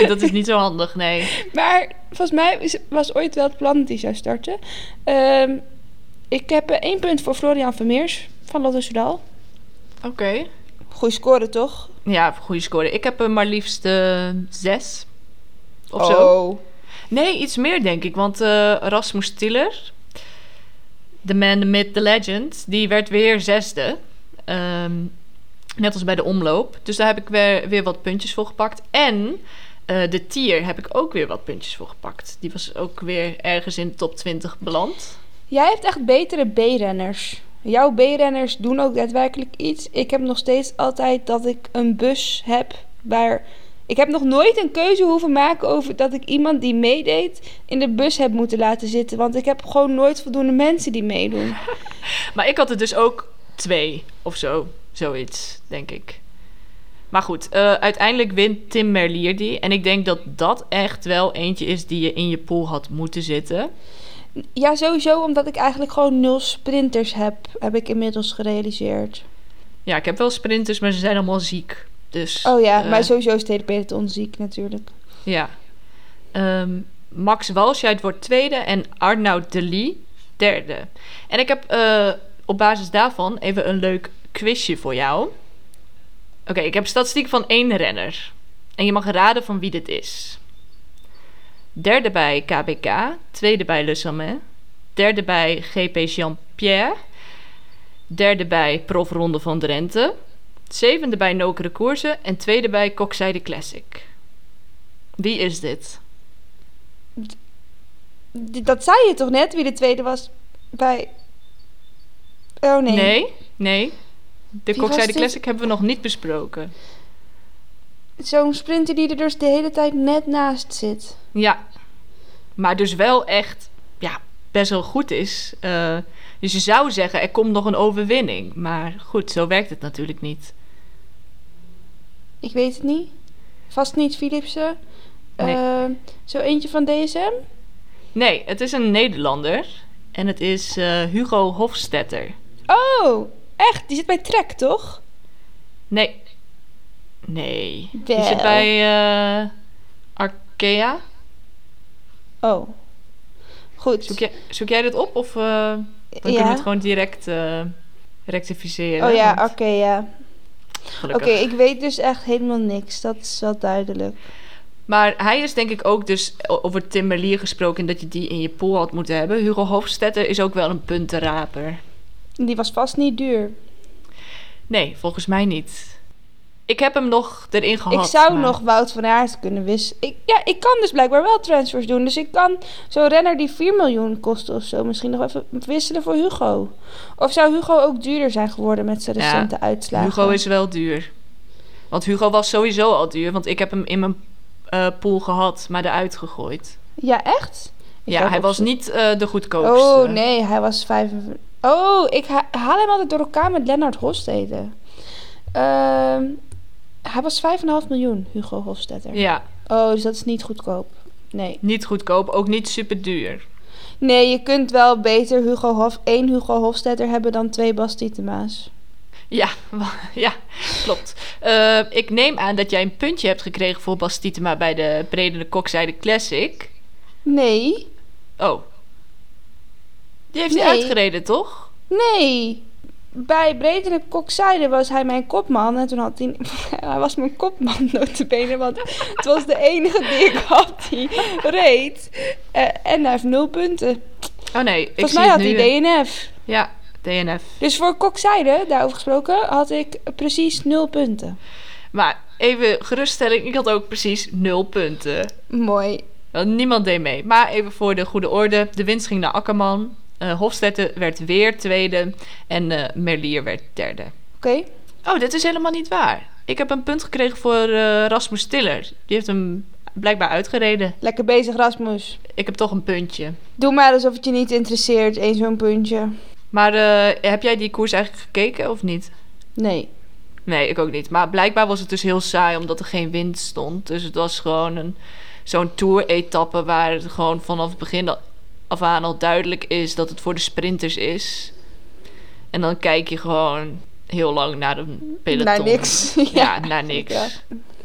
dat is niet zo handig, nee.
Maar volgens mij is- was ooit wel het plan dat hij zou starten. Ehm, ik heb eh, één punt voor Florian Vermeers van Lotto Soudal.
Oké.
Goeie score, toch?
Ja, goede score. Ik heb er maar liefst eh, zes
Oh.
of zo. Nee, iets meer denk ik. Want eh Rasmus Tiller, The Man, The Myth, The Legend, die werd weer zesde. Ehm, net als bij de omloop. Dus daar heb ik weer, weer wat puntjes voor gepakt. En eh, de tier heb ik ook weer wat puntjes voor gepakt. Die was ook weer ergens in de top 20 beland.
Jij hebt echt betere B-renners. Jouw B-renners doen ook daadwerkelijk iets. Ik heb nog steeds altijd dat ik een bus heb waar. Ik heb nog nooit een keuze hoeven maken over dat ik iemand die meedeed in de bus heb moeten laten zitten. Want ik heb gewoon nooit voldoende mensen die meedoen.
Maar ik had er dus ook twee of zo. Zoiets, denk ik. Maar goed, eh, uiteindelijk wint Tim Merlier die. En ik denk dat dat echt wel eentje is die je in je pool had moeten zitten.
Ja, sowieso omdat ik eigenlijk gewoon nul sprinters heb, heb ik inmiddels gerealiseerd.
Ja, ik heb wel sprinters, maar ze zijn allemaal ziek. Dus,
Oh ja,
eh,
maar sowieso is de peloton ziek natuurlijk.
Ja. Ehm, Max Walscheid wordt tweede en Arnoud Delis derde. En ik heb eh, op basis daarvan even een leuk quizje voor jou. Oké, ik heb statistiek van één renner. En je mag raden van wie dit is. Derde bij KBK, tweede bij Le Samet, derde bij GP Jean-Pierre, derde bij Prof Ronde van Drenthe, zevende bij Nokere Koersen en tweede bij Kokzijde Classic. Wie is dit?
D- Dat zei je toch net, wie de tweede was bij. Oh nee.
Nee, nee. De
Wie was
Kokzijde
dit?
Classic hebben we nog niet besproken.
Zo'n sprinter die er dus de hele tijd net naast zit.
Ja. Maar dus wel echt ja, best wel goed is. Eh, dus je zou zeggen, er komt nog een overwinning. Maar goed, zo werkt het natuurlijk niet.
Ik weet het niet. Vast niet Philipsen.
Nee.
Eh, zo eentje van DSM.
Nee, het is een Nederlander. En het is eh, Hugo Hofstetter.
Oh, echt? Die zit bij Trek, toch?
Nee. Nee. Die
Wel.
zit bij eh, Arkea.
Oh. Goed.
Zoek jij, zoek jij dit op? Of eh, dan kunnen we
Ja.
het gewoon direct eh, rectificeren?
Oh ja, oké,
want
ja. Oké,
gelukkig.
ik weet dus echt helemaal niks. Dat is wel duidelijk.
Maar hij is denk ik ook dus o- over Tim Merlier gesproken... dat je die in je pool had moeten hebben. Hugo Hofstetter is ook wel een puntenraper.
Die was vast niet duur.
Nee, volgens mij niet. Ik heb hem nog erin gehad.
ik zou
maar-
nog Wout van Aert kunnen wissen. Ik, ja, ik kan dus blijkbaar wel transfers doen. Dus ik kan zo'n renner die 4 miljoen kost of zo misschien nog even wisselen voor Hugo. Of zou Hugo ook duurder zijn geworden met zijn
Ja,
recente uitslagen?
Hugo is wel duur. Want Hugo was sowieso al duur. Want ik heb hem in mijn eh, pool gehad, maar eruit gegooid.
Ja, echt? Ik
ja,
ook
hij
op
was
zoek.
niet eh, de goedkoopste.
Oh nee, hij was 55. Oh, ik ha- haal hem altijd door elkaar met Lennart Hofstede. Ehm, hij was 5,5 miljoen, Hugo Hofstetter.
Ja,
Oh, dus dat is niet goedkoop. Nee.
niet goedkoop, ook niet super duur.
Nee, je kunt wel beter Hugo Hof, één Hugo Hofstetter hebben dan twee Bas Tietema's.
Ja, wa- [LAUGHS] ja klopt. Eh, ik neem aan dat jij een puntje hebt gekregen voor Bas Tietema bij de Bredene Kokzijde Classic.
Nee.
Oh. Die heeft hij
Nee.
uitgereden, toch?
Nee. Bij Bredere Kokzijde was hij mijn kopman. En toen had hij... [LAUGHS] hij was mijn kopman, [LAUGHS] notabene. Want het was de enige die ik had die reed. Eh, en hij heeft nul punten.
Oh nee, ik
Volgens
zie
mij had
het
hij
nu.
DNF.
Ja, DNF.
Dus voor Kokzijde, daarover gesproken, had ik precies nul punten.
Maar even geruststelling, ik had ook precies nul punten.
Mooi.
Want niemand deed mee. Maar even voor de goede orde, de winst ging naar Akkerman. Eh Hofstetten werd weer tweede en eh, Merlier werd derde.
Oké.
Oh, dit is helemaal niet waar. Ik heb een punt gekregen voor eh, Rasmus Tiller. Die heeft hem blijkbaar uitgereden.
Lekker bezig, Rasmus.
Ik heb toch een puntje.
Doe maar alsof het je niet interesseert, één zo'n puntje.
Maar eh, heb jij die koers eigenlijk gekeken of niet?
Nee.
Nee, ik ook niet. Maar blijkbaar was het dus heel saai omdat er geen wind stond. Dus het was gewoon een, zo'n tour-etappe waar het gewoon vanaf het begin al- af aan al duidelijk is dat het voor de sprinters is. En dan kijk je gewoon heel lang naar een peloton.
Naar
[LAUGHS]
niks. [LAUGHS]
Ja, naar niks.
Ja.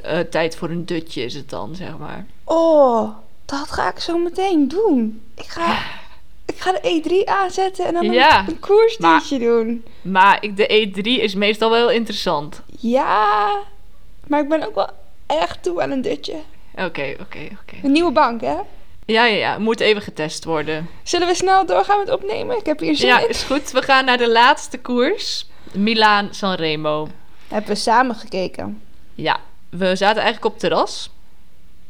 Eh, tijd voor een dutje is het dan, zeg maar.
Oh, dat ga ik zo meteen doen. Ik ga,
[SIGHS]
ik ga de E3 aanzetten en dan een-
Ja,
een koersdienstje doen.
Maar ik, de E3 is meestal wel interessant.
Ja, maar ik ben ook wel echt toe aan een dutje.
Oké, oké, oké.
Een nieuwe bank, hè?
Ja, ja, ja. Moet even getest worden.
Zullen we snel doorgaan met opnemen? Ik heb hier zin
Ja,
in.
is goed. We gaan naar de laatste koers. Milaan Sanremo.
Hebben we samen gekeken.
Ja, we zaten eigenlijk op het terras.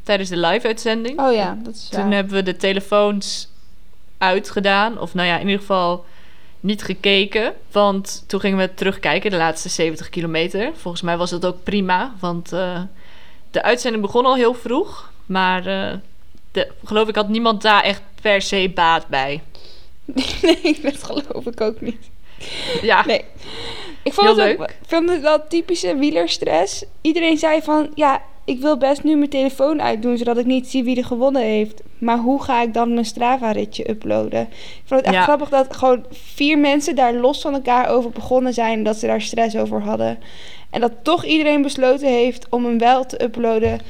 Tijdens de live-uitzending.
Oh ja, dat is waar.
Toen hebben we de telefoons uitgedaan. Of nou ja, in ieder geval niet gekeken. Want toen gingen we terugkijken, de laatste 70 kilometer. Volgens mij was dat ook prima. Want eh, de uitzending begon al heel vroeg. Maar eh, de, geloof ik had niemand daar echt per se baat bij. eh,
[LAUGHS] nee, dat geloof ik ook niet.
Ja,
Nee. Ik vond
Heel
het ook,
leuk.
ik vond het wel typische wielerstress. Iedereen zei van, ja, ik wil best nu mijn telefoon uitdoen... zodat ik niet zie wie er gewonnen heeft. Maar hoe ga ik dan mijn Strava-ritje uploaden? Ik vond het echt
Ja.
grappig dat gewoon vier mensen daar los van elkaar over begonnen zijn... en dat ze daar stress over hadden. En dat toch iedereen besloten heeft om hem wel te uploaden...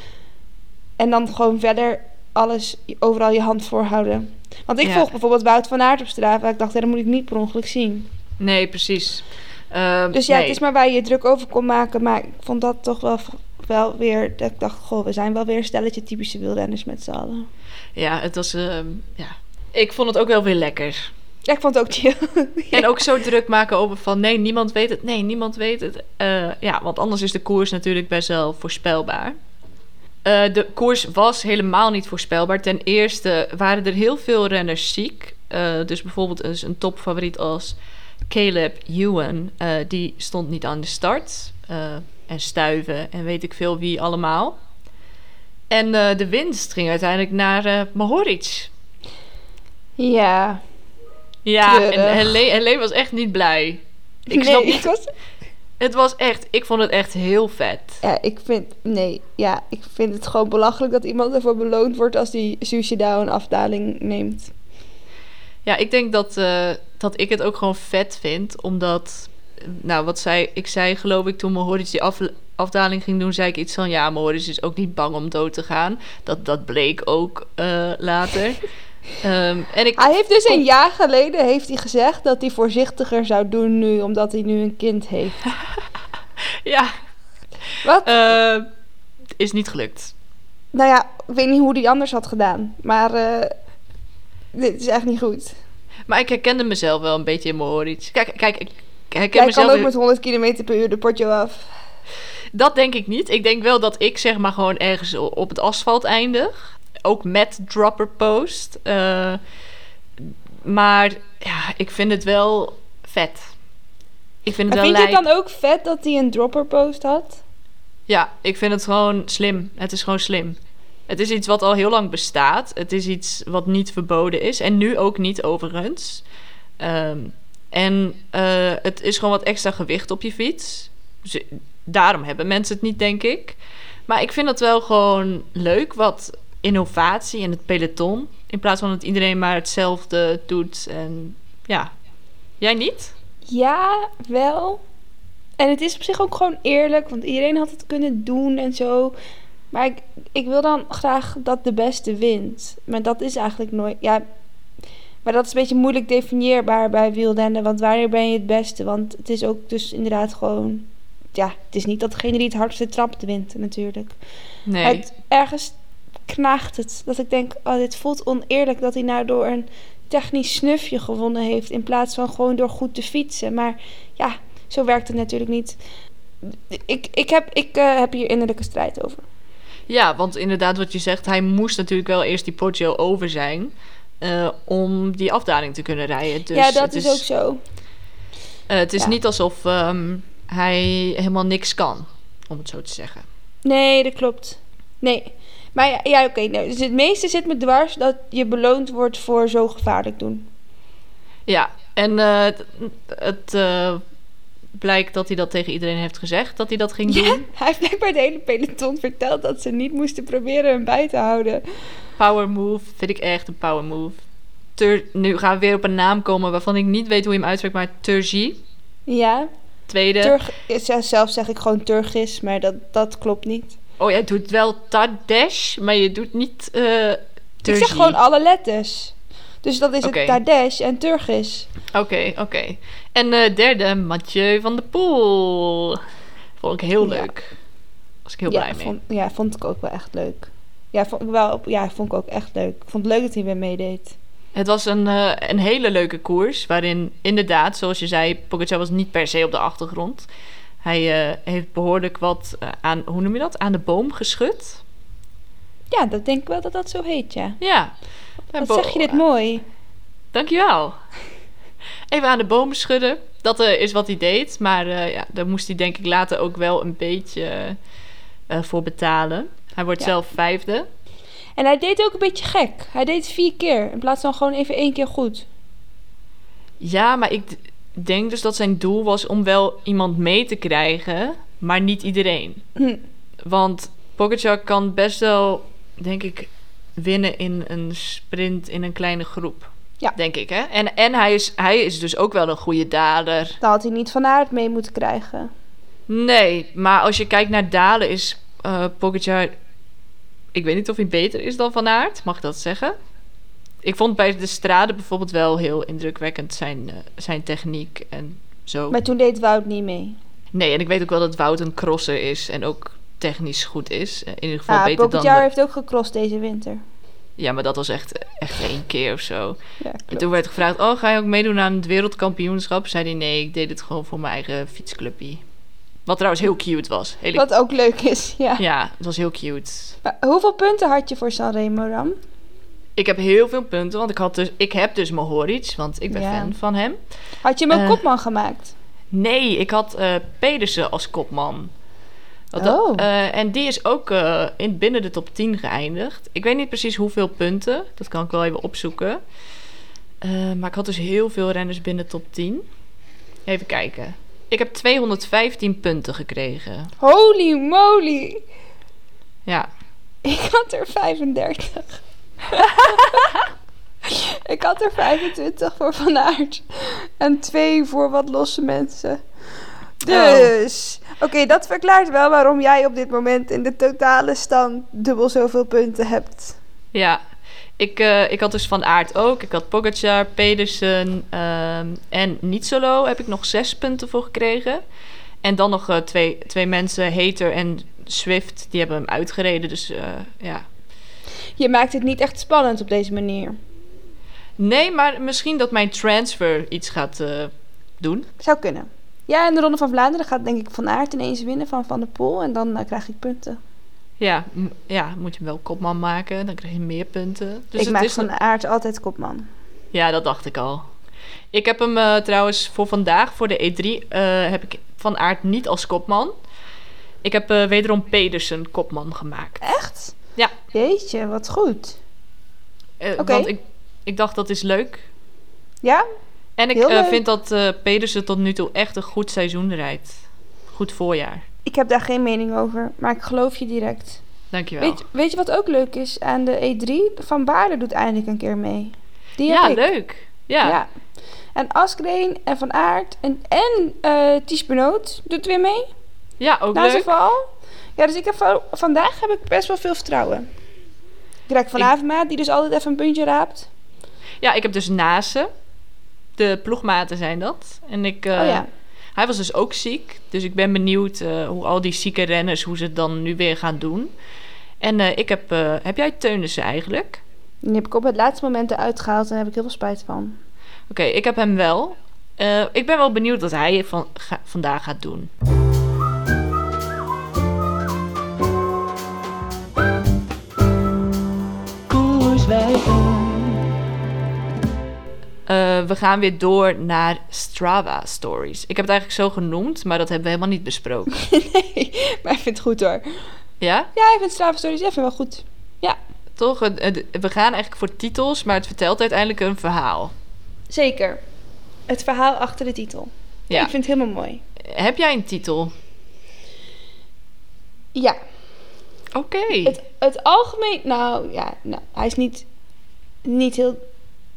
en dan gewoon verder alles, overal je hand voorhouden. Want ik
Ja.
volg bijvoorbeeld Wout van Aert op Strava. Ik dacht, ja, dat moet ik niet per ongeluk zien.
nee, precies. Ehm,
Dus ja,
nee.
het is maar waar je je druk over kon maken. Maar ik vond dat toch wel, wel weer... Dat ik dacht, goh, we zijn wel weer een stelletje typische wielrenners met z'n allen.
Ja, het was... ehm, ja. Ik vond het ook wel weer lekker.
Ja, ik vond het ook chill.
En ook zo druk maken over van nee, niemand weet het. Nee, niemand weet het. Eh, ja, want anders is de koers natuurlijk best wel voorspelbaar. Eh, de koers was helemaal niet voorspelbaar. Ten eerste waren er heel veel renners ziek. Eh, dus bijvoorbeeld eens een topfavoriet als Caleb Ewan. eh, die stond niet aan de start. Eh, en stuiven en weet ik veel wie allemaal. En eh, de winst ging uiteindelijk naar eh Mohoric.
[LAUGHS] ja.
Ja, en
Treurig.
Helene, Helene was echt niet blij. Ik
nee,
snap
Ik
niet.
was,
Het was echt, ik vond het echt heel vet.
ja, ik vind... Nee, ja, ik vind het gewoon belachelijk dat iemand ervoor beloond wordt... als die suicidaal een afdaling neemt.
Ja, ik denk dat, eh, dat ik het ook gewoon vet vind, omdat, eh, nou, wat zei, ik zei geloof ik toen Mohoric die af, afdaling ging doen, zei ik iets van, ja, Mohoric is ook niet bang om dood te gaan. Dat, dat bleek ook eh, later.
[LAUGHS]
Ehm, en ik,
Hij heeft dus een jaar geleden heeft hij gezegd... dat hij voorzichtiger zou doen nu... omdat hij nu een kind heeft.
ja,
[LAUGHS] Wat?
eh, is niet gelukt.
Nou ja, ik weet niet hoe hij anders had gedaan. Maar... eh, dit is echt niet goed.
Maar ik herkende mezelf wel een beetje in Mohoric. Kijk, kijk, ik herken
Jij
mezelf...
kan ook
in-
met 100 km per uur de potje af.
Dat denk ik niet. Ik denk wel dat ik zeg maar gewoon ergens o- op het asfalt eindig. Ook met dropper post. Eh, maar ja, ik vind het wel vet. Ik vind het
En
wel
vind je
lijp.
het dan ook vet dat hij een dropper post had?
Ja, ik vind het gewoon slim. Het is gewoon slim. Het is iets wat al heel lang bestaat. Het is iets wat niet verboden is. En nu ook niet overigens. Ehm, en eh, het is gewoon wat extra gewicht op je fiets. Dus, daarom hebben mensen het niet, denk ik. Maar ik vind het wel gewoon leuk. Wat innovatie in het peloton. In plaats van dat iedereen maar hetzelfde doet. En ja, jij niet?
Ja, wel. En het is op zich ook gewoon eerlijk, want iedereen had het kunnen doen en zo. Maar ik, ik wil dan graag dat de beste wint. Maar dat is eigenlijk nooit. Ja, maar dat is een beetje moeilijk definieerbaar bij wielrennen. Want wanneer ben je het beste? Want het is ook dus inderdaad gewoon. Ja, het is niet dat degene die het hardste trapt wint, natuurlijk.
Nee.
Het, ergens knaagt het. Dat ik denk, oh, dit voelt oneerlijk dat hij nou door een technisch snufje gewonnen heeft. In plaats van gewoon door goed te fietsen. Maar ja, zo werkt het natuurlijk niet. Ik, ik, heb, ik eh, heb hier innerlijke strijd over.
Ja, want inderdaad wat je zegt, hij moest natuurlijk wel eerst die Poggio over zijn eh, om die afdaling te kunnen rijden. Dus
ja, dat
het
is, ook zo.
eh, het is
Ja.
niet alsof ehm, hij helemaal niks kan, om het zo te zeggen.
Nee, dat klopt. Nee. Maar ja, ja oké. nou, dus het meeste zit me dwars dat je beloond wordt voor zo gevaarlijk doen.
Ja, en eh, het- het eh, blijkt dat hij dat tegen iedereen heeft gezegd, dat hij dat ging
Ja,
doen.
[LAUGHS] hij heeft blijkbaar het hele peloton verteld dat ze niet moesten proberen hem bij te houden.
Power move, vind ik echt een power move. Tur- nu gaan we weer op een naam komen waarvan ik niet weet hoe je hem uitspreekt, maar Turgi,
Ja.
tweede.
Turg, ja, zelf zeg ik gewoon Turgis, maar dat, dat klopt niet.
oh, jij doet wel Tadesh, maar je doet niet eh
Ik
Turgi.
zeg gewoon alle letters. Dus dat is
Oké.
het Tadesh en Turgis.
Oké, oké. En eh, derde, Mathieu van der Poel. Vond ik heel
Ja.
leuk. Was ik heel
ja,
blij mee.
vond, ja, vond ik ook wel echt leuk. Ja, vond ik, wel, ja, vond ik ook echt leuk. Ik vond het leuk dat hij weer meedeed.
Het was een, eh, een hele leuke koers, waarin inderdaad, zoals je zei, Pogacar was niet per se op de achtergrond. Hij eh, heeft behoorlijk wat eh, aan, hoe noem je dat, aan de boom geschud.
Ja, dat denk ik wel dat dat zo heet, ja.
Ja.
Wat
Bo-
zeg je dit mooi.
Dankjewel. Even aan de bomen schudden. Dat eh, is wat hij deed. Maar eh, ja, daar moest hij denk ik later ook wel een beetje eh, voor betalen. Hij wordt
Ja.
zelf vijfde.
En hij deed ook een beetje gek. Hij deed het vier keer in plaats van gewoon even één keer goed.
Ja, maar ik d- denk dus dat zijn doel was om wel iemand mee te krijgen. Maar niet iedereen.
Hm.
Want Pogacar kan best wel, denk ik, winnen in een sprint in een kleine groep.
Ja.
Denk ik, hè? En, en hij, is, hij is dus ook wel een goede dader.
Daar had hij niet van aard mee moeten krijgen.
Oh. Nee, maar als je kijkt naar dalen is eh Pogacar... Ik weet niet of hij beter is dan Van Aert, mag ik dat zeggen? Ik vond bij de straden bijvoorbeeld wel heel indrukwekkend zijn, eh, zijn techniek en zo.
Maar toen deed Wout niet mee.
Nee, en ik weet ook wel dat Wout een crosser is en ook technisch goed is. Eh, In ieder geval
Ja,
beter dan...
Ah, Pogacar
de-
heeft ook gecrossed deze winter.
Ja, maar dat was echt, eh, echt één keer of zo.
Ja,
En
klopt.
toen werd gevraagd, oh, ga je ook meedoen aan het wereldkampioenschap? Zei hij, nee, ik deed het gewoon voor mijn eigen fietsclubje. Wat trouwens heel cute was. Hele...
Wat ook leuk is, ja.
Ja, het was heel cute.
Maar hoeveel punten had je voor Sanremo, Ram?
Ik heb heel veel punten, want ik, had dus, ik heb dus Mohoric, want ik ben
Ja.
fan van hem.
Had je hem ook
Eh.
kopman gemaakt?
Nee, ik had eh, Pedersen als kopman. Want
Oh.
dat, eh, en die is ook eh, in, binnen de top 10 geëindigd. Ik weet niet precies hoeveel punten, dat kan ik wel even opzoeken. Eh, maar ik had dus heel veel renners binnen de top 10. Even kijken. Ik heb 215 punten gekregen.
Holy moly!
Ja,
Ik had er 35. [LAUGHS] ik had er 25 voor Van Aert. En twee voor wat losse mensen. Dus, oké, dat verklaart wel waarom jij op dit moment in de totale stand dubbel zoveel punten hebt.
Ja, ik, eh, ik had dus Van Aert ook. Ik had Pogacar, Pedersen ehm, en Nietzolo heb ik nog zes punten voor gekregen. En dan nog eh, twee, twee mensen, Hater en Swift, die hebben hem uitgereden. Dus eh, ja.
Je maakt het niet echt spannend op deze manier.
Nee, maar misschien dat mijn transfer iets gaat eh, doen.
Zou kunnen. Ja, en de Ronde van Vlaanderen gaat denk ik Van Aert ineens winnen van Van der Poel. En dan eh, krijg ik punten.
Dus Ja, m- ja, moet je hem wel kopman maken. Dan krijg je meer punten. Dus
ik maak
is
Van Aert altijd kopman.
Ja, dat dacht ik al. Ik heb hem eh, trouwens voor vandaag, voor de E3, eh, heb ik Van Aert niet als kopman. Ik heb eh, wederom Pedersen kopman gemaakt.
Echt?
Ja.
Jeetje, wat goed.
Eh,
Oké.
Want ik, ik dacht, dat is leuk.
Ja?
En ik
Heel
eh,
leuk.
vind dat eh, Pedersen tot nu toe echt een goed seizoen rijdt. Goed voorjaar.
Ik heb daar geen mening over, maar ik geloof je direct.
Dankjewel.
Weet, weet je wat ook leuk is aan de E3? Van Baarle doet eindelijk een keer mee. Die heb
ja,
ik.
leuk. Ja. ja.
En Askreen en Van Aert en, en eh Ties Benoot doet weer mee.
ook
Na zijn
leuk.
val. Ja, dus ik heb van- vandaag heb ik best wel veel vertrouwen. Ik raak van
Ik-
Avermaat, die dus altijd even een puntje raapt.
Ja, ik heb dus Nase. De ploegmaten zijn dat. En ik, eh,
oh ja.
Hij was dus ook ziek. Dus ik ben benieuwd eh, hoe al die zieke renners, hoe ze het dan nu weer gaan doen. En eh, ik heb, eh, heb jij Teunissen eigenlijk?
Die heb ik op het laatste moment eruit gehaald en daar heb ik heel veel spijt van. [LAUGHS]
Oké, ik heb hem wel. Eh, ik ben wel benieuwd wat hij van, ga- vandaag gaat doen. Eh, we gaan weer door naar Strava Stories. Ik heb het eigenlijk zo genoemd, maar dat hebben we helemaal niet besproken.
nee, maar ik vind het goed hoor.
Ja?
Ja, ik vind Strava Stories even wel goed.
Toch, het- het- we gaan eigenlijk voor titels, maar het vertelt uiteindelijk een verhaal.
Zeker. Het verhaal achter de titel.
Ja.
Ik vind het helemaal mooi.
Heb jij een titel?
Ja,
Oké.
het, het algemeen... Nou ja, nou, hij is niet, niet heel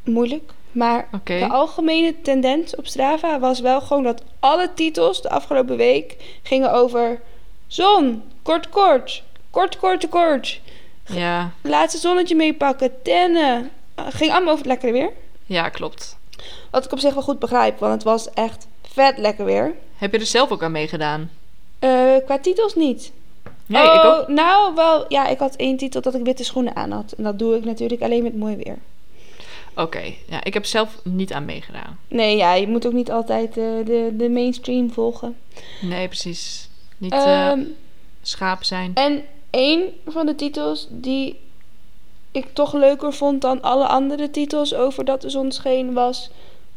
moeilijk. Maar
Oké.
de algemene tendens op Strava was wel gewoon dat alle titels de afgelopen week gingen over zon, kort, kort, kort, kort, kort.
Ja.
Laatste zonnetje meepakken, tennen. Eh, ging allemaal over het lekkere weer.
ja, klopt.
Wat ik op zich wel goed begrijp, want het was echt vet lekker weer.
Heb je er zelf ook aan meegedaan?
Eh, qua titels niet.
Nee, ik ook.
Nou, wel, ja, ik had één titel dat ik witte schoenen aan had. En dat doe ik natuurlijk alleen met mooi weer.
Oké, ja, ik heb zelf niet aan meegedaan.
Nee, ja, je moet ook niet altijd eh, de, de mainstream volgen.
Nee, precies. Niet eh,
Ehm,
schaap zijn.
en één van de titels die ik toch leuker vond dan alle andere titels over dat de zon scheen was...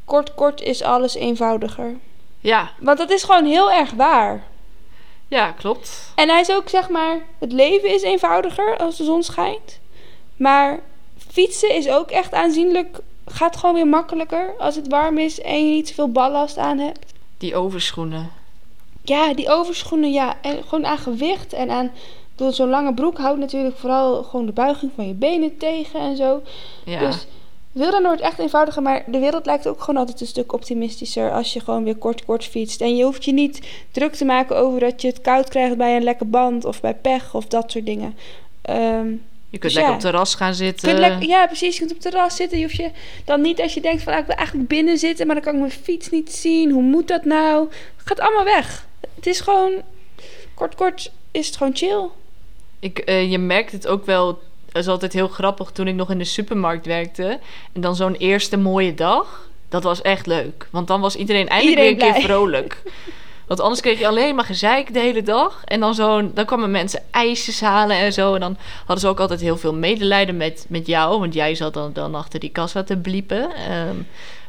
Kort, kort is alles eenvoudiger.
Ja,
Want dat is gewoon heel erg waar.
ja, klopt.
En hij is ook zeg maar, het leven is eenvoudiger als de zon schijnt. Maar fietsen is ook echt aanzienlijk, gaat gewoon weer makkelijker als het warm is en je niet zoveel ballast aan hebt.
Die overschoenen.
Ja, die overschoenen, ja. En gewoon aan gewicht en aan, ik bedoel, zo'n lange broek houdt natuurlijk vooral gewoon de buiging van je benen tegen en zo.
Ja,
Dus wil dan wordt echt eenvoudiger, maar de wereld lijkt ook gewoon altijd een stuk optimistischer als je gewoon weer kort kort fietst. En je hoeft je niet druk te maken over dat je het koud krijgt bij een lekke band of bij pech of dat soort dingen. Ehm,
je
dus
kunt lekker
ja.
op het terras gaan
je
zitten.
kunt lekker- ja, precies. Je kunt op het terras zitten. Je hoeft je dan niet als je denkt van ah, ik wil eigenlijk binnen zitten, maar dan kan ik mijn fiets niet zien. Hoe moet dat nou? Het gaat allemaal weg. Het is gewoon kort kort is het gewoon chill.
Ik, eh, je merkt het ook wel. Dat is altijd heel grappig toen ik nog in de supermarkt werkte. En dan zo'n eerste mooie dag. Dat was echt leuk. Want dan was iedereen eindelijk
Iedereen
weer een keer
blij. [LAUGHS]
vrolijk. Want anders kreeg je alleen maar gezeik de hele dag. En dan, zo'n, dan kwamen mensen ijsjes halen en zo. En dan hadden ze ook altijd heel veel medelijden met, met jou. Want jij zat dan, dan achter die kassa te bliepen. ehm,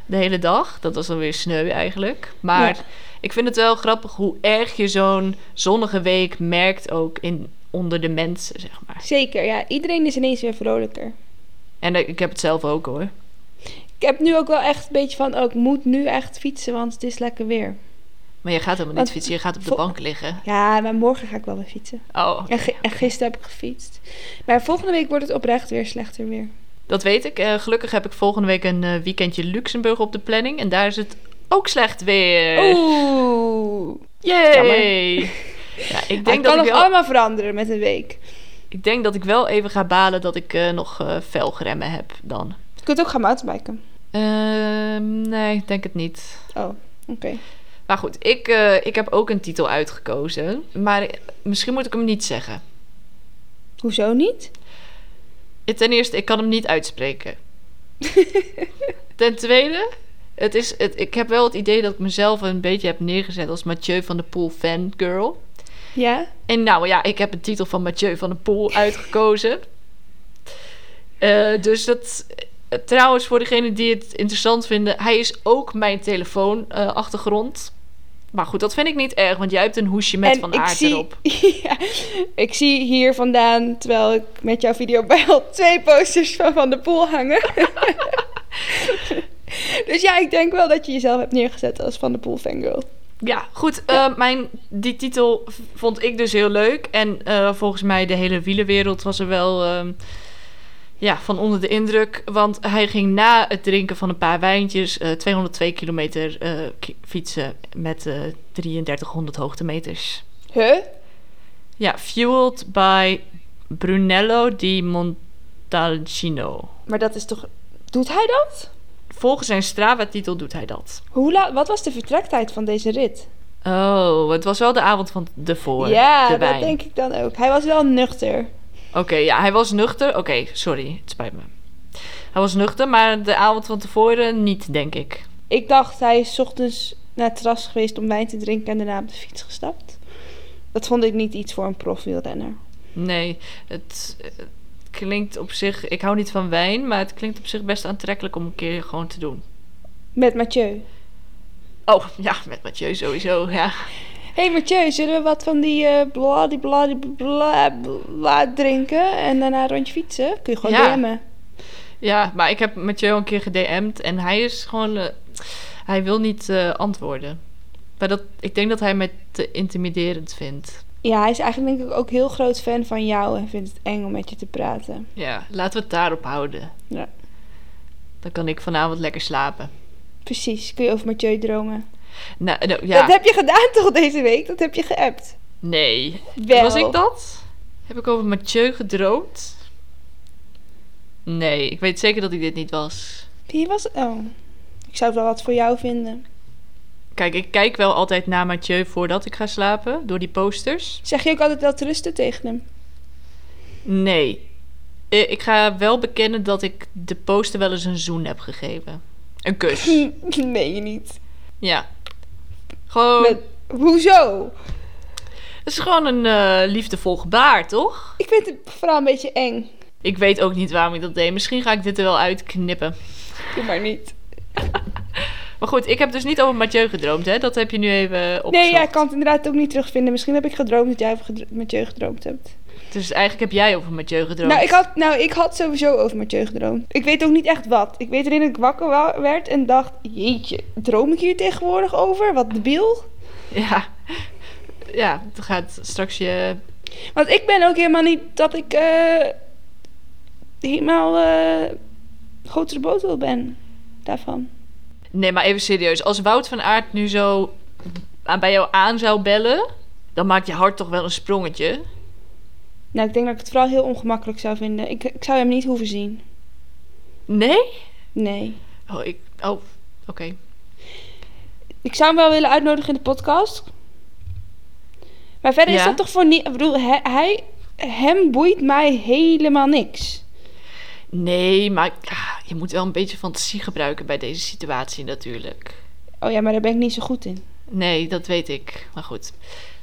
de hele dag. Dat was dan weer sneu eigenlijk. Maar
Ja.
ik vind het wel grappig hoe erg je zo'n zonnige week merkt ook in, onder de mensen, zeg maar.
Zeker, ja. Iedereen is ineens weer vrolijker.
En eh, ik heb het zelf ook hoor.
Ik heb nu ook wel echt een beetje van, oh, ik moet nu echt fietsen, want het is lekker weer.
Maar je gaat helemaal niet
Want-
fietsen, je gaat op de
Vol-
bank liggen.
Ja, maar morgen ga ik wel weer fietsen.
Oh,
En, gi- en gisteren heb ik gefietst. Maar volgende week wordt het oprecht weer slechter weer.
dat weet ik. Eh, gelukkig heb ik volgende week een eh, weekendje Luxemburg op de planning. En daar is het ook slecht weer.
Oeh.
Yay! Ja, ik,
Het
denk
kan
dat ik,
nog
wel,
allemaal veranderen met een week.
ik denk dat ik wel even ga balen dat ik eh, nog eh velgremmen heb dan.
Je kunt ook gaan mountainbiken.
Ehm, nee, ik denk het niet.
Oh, oké.
Maar goed, ik, eh, ik heb ook een titel uitgekozen. Maar eh, misschien moet ik hem niet zeggen.
Hoezo niet?
Ten eerste, ik kan hem niet
[LAUGHS]
uitspreken. Ten tweede, het is, het, ik heb wel het idee dat ik mezelf een beetje heb neergezet als Mathieu van der Poel fangirl.
Ja?
En nou ja, ik heb een titel van Mathieu van der Poel uitgekozen. Eh, dus dat. eh, Trouwens, voor degenen die het interessant vinden, hij is ook mijn telefoonachtergrond. maar goed, dat vind ik niet erg, want jij hebt een hoesje met
en
van
ik
aard
zie,
erop.
[LAUGHS] Ja, ik zie hier vandaan, terwijl ik met jouw video bij al twee posters van Van de Poel hangen. [LAUGHS] dus ja, ik denk wel dat je jezelf hebt neergezet als Van de Poel fangirl.
Ja, goed. eh, mijn, die titel v- vond ik dus heel leuk. En eh, volgens mij de hele wielenwereld was er wel ehm, ja, van onder de indruk. Want hij ging na het drinken van een paar wijntjes eh, 202 kilometer eh, ki- fietsen met eh 3300 hoogtemeters.
Huh?
Ja, fueled by Brunello di Montalcino.
Maar dat is toch... Doet hij dat?
Volgens zijn Strava-titel doet hij dat.
Hoe la- wat was de vertrektijd van deze rit?
Oh, het was wel de avond van tevoren.
ja,
de
dat
wijn.
denk ik dan ook. Hij was wel nuchter.
Oké, ja, hij was nuchter. Oké, sorry, het spijt me. Hij was nuchter, maar de avond van tevoren niet, denk ik.
Ik dacht, hij is 's ochtends naar het terras geweest om wijn te drinken en daarna op de fiets gestapt. Dat vond ik niet iets voor een profwielrenner.
Nee, het, eh, klinkt op zich... Ik hou niet van wijn, maar het klinkt op zich best aantrekkelijk om een keer gewoon te doen.
Met Mathieu.
Oh, ja, met Mathieu sowieso, ja.
Hé hey Mathieu, zullen we wat van die eh bla die bla die bla bla drinken en daarna een rondje fietsen? Kun je gewoon
Ja.
DM'en.
Ja, maar ik heb Mathieu een keer gedM'd en hij is gewoon... eh, hij wil niet eh, antwoorden. Maar dat, ik denk dat hij mij te intimiderend vindt.
Ja, hij is eigenlijk denk ik ook heel groot fan van jou en vindt het eng om met je te praten.
Ja, laten we het daarop houden.
Ja.
Dan kan ik vanavond lekker slapen.
Precies, kun je over Mathieu dromen.
Nou, nou, ja.
Dat heb je gedaan toch deze week? Dat heb je geappt.
Nee.
Wel.
Was ik dat? Heb ik over Mathieu gedroomd? Nee, ik weet zeker dat ik dit niet was.
Wie was... Oh, ik zou wel wat voor jou vinden.
Kijk, ik kijk wel altijd naar Mathieu voordat ik ga slapen, door die posters.
Zeg je ook altijd wel te rusten tegen hem? [LAUGHS]
Nee. I- Ik ga wel bekennen dat ik de poster wel eens een zoen heb gegeven. Een
[LAUGHS]
kus.
nee, je niet.
ja. Gewoon,
Met, hoezo?
het is gewoon een eh, liefdevol gebaar, toch?
Ik vind het vooral een beetje eng.
Ik weet ook niet waarom ik dat deed. Misschien ga ik dit er wel uitknippen.
Doe maar niet.
Maar goed, ik heb dus niet over Mathieu gedroomd, hè? Dat heb je nu even opgezocht.
Nee, ja, ik kan het inderdaad ook niet terugvinden. Misschien heb ik gedroomd dat jij over gedro- met je gedroomd hebt.
Dus eigenlijk heb jij over Mathieu gedroomd.
Nou ik, had, nou, ik had sowieso over Mathieu gedroomd. Ik weet ook niet echt wat. Ik weet alleen dat ik wakker wa- werd en dacht... Jeetje, droom ik hier tegenwoordig over? Wat debiel.
[LAUGHS] Ja. Ja, dan gaat straks je...
Want ik ben ook helemaal niet dat ik... eh, helemaal... eh grotere botel ben. Daarvan.
Nee, maar even serieus. Als Wout van Aert nu zo aan- bij jou aan zou bellen... dan maakt je hart toch wel een sprongetje.
Nou, ik denk dat ik het vooral heel ongemakkelijk zou vinden. Ik, ik zou hem niet hoeven zien.
Nee?
Nee.
Oh, ik... Oh, oké.
Ik zou hem wel willen uitnodigen in de podcast. Maar verder is
Ja.
dat toch voor niet... Ik bedoel, hij, hij, hem boeit mij helemaal niks.
Nee, maar ah, je moet wel een beetje fantasie gebruiken bij deze situatie natuurlijk.
Oh ja, maar daar ben ik niet zo goed in.
Nee, dat weet ik. Maar goed.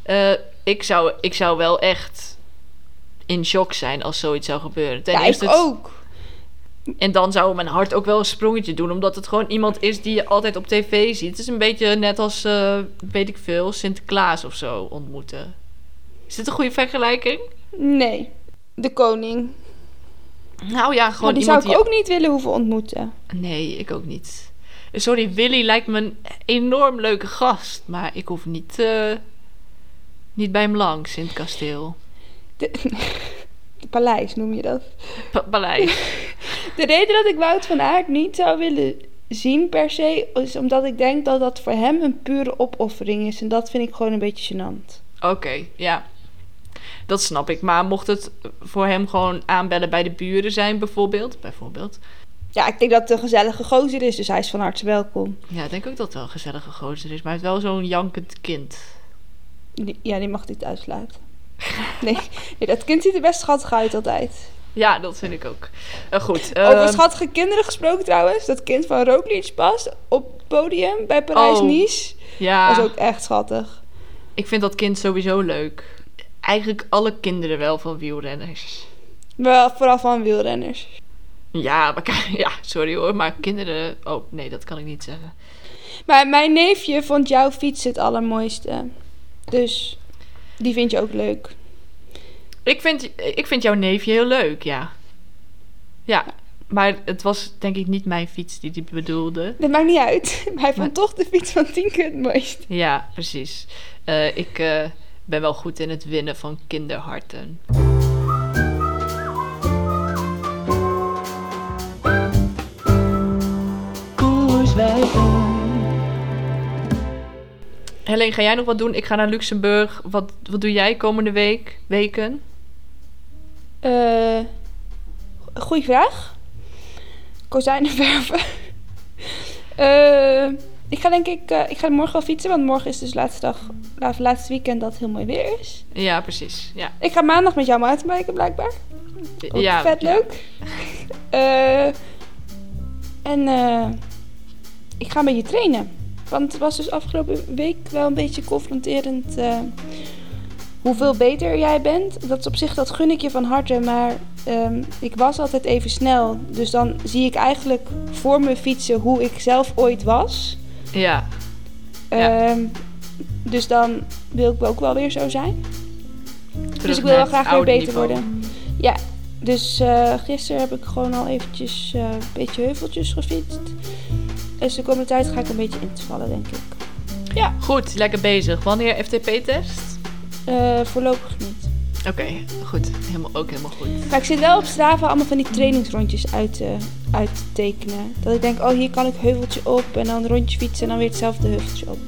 Eh, ik, zou, ik zou wel echt in shock zijn als zoiets zou gebeuren. Ten
ja, ik
eerste-
ook.
En dan zou mijn hart ook wel een sprongetje doen, omdat het gewoon iemand is die je altijd op tv ziet. Het is een beetje net als, eh, weet ik veel, Sinterklaas of zo ontmoeten. Is dit een goede vergelijking?
Nee. De koning.
Nou ja,
Maar
gewoon
die zou
iemand
ik
die...
ook niet willen hoeven ontmoeten.
Nee, ik ook niet. Sorry, Willy lijkt me een enorm leuke gast, maar ik hoef niet, eh, niet bij hem langs in het kasteel.
De, [LAUGHS] de paleis noem je dat.
Pa- paleis.
De reden dat ik Wout van Aert niet zou willen zien per se... is omdat ik denk dat dat voor hem een pure opoffering is. En dat vind ik gewoon een beetje gênant.
[LAUGHS] Oké, ja. Dat snap ik. Maar mocht het voor hem gewoon aanbellen bij de buren zijn, bijvoorbeeld. Bijvoorbeeld.
Ja, ik denk dat het een gezellige gozer is. Dus hij is van harte welkom.
Ja, ik denk ook dat het wel een gezellige gozer is. Maar hij is wel zo'n jankend kind.
Die- Ja, die mag niet uitsluiten. [LAUGHS] Nee, nee, dat kind ziet er best schattig uit altijd.
Ja, dat vind ik ook. Eh, goed.
Over
ehm,
schattige kinderen gesproken trouwens. Dat kind van Roglic pas op het podium bij Parijs-Nice.
Oh. ja,
Dat is ook echt schattig.
ik vind dat kind sowieso leuk. Eigenlijk alle kinderen wel van wielrenners.
Wel, vooral van wielrenners.
Ja, maar, k- [LAUGHS] ja, sorry hoor, maar kinderen... Oh, nee, dat kan ik niet zeggen.
Maar mijn neefje vond jouw fiets het allermooiste. Dus die vind je ook leuk.
Ik vind, ik vind jouw neefje heel leuk, ja. Ja, maar het was denk ik niet mijn fiets die die bedoelde.
Dat maakt niet uit. [LAUGHS] Maar hij vond
Maar-
toch de fiets van Tienke het mooist.
Ja, precies. Eh, ik eh, ben wel goed in het winnen van kinderharten. Helene, ga jij nog wat doen? Ik ga naar Luxemburg. Wat, wat doe jij komende week, weken?
Eh goeie vraag. Kozijnen [LAUGHS] verven. Eh, ik ga denk ik... eh, ik ga morgen wel fietsen. Want morgen is dus laatste dag... of laatste weekend dat het heel mooi weer is.
Ja, precies. Ja,
Ik ga maandag met jou mountainbiken blijkbaar. Ook
ja
Oh, vet
ja.
leuk. [LAUGHS] Eh, en eh, ik ga met je trainen. Want het was dus afgelopen week wel een beetje confronterend eh, hoeveel beter jij bent. Dat is op zich, dat gun ik je van harte. Maar ehm, ik was altijd even snel. Dus dan zie ik eigenlijk voor me fietsen hoe ik zelf ooit was.
Ja, Ja.
Ehm, dus dan wil ik ook wel weer zo zijn.
terug
Dus ik wil wel
naar het
graag weer
oude
beter
niveau.
worden. Ja, dus eh, gisteren heb ik gewoon al eventjes eh, een beetje heuveltjes gefietst. Dus de komende tijd ga ik een beetje in te vallen, denk ik.
Goed, lekker bezig. Wanneer FTP-test?
Eh, voorlopig niet.
Oké, goed. Helemaal, ook helemaal goed.
Maar ik zit wel op Strava allemaal van die trainingsrondjes uit, eh, uit te tekenen. Dat ik denk, oh hier kan ik heuveltje op en dan een rondje fietsen en dan weer hetzelfde heuveltje op.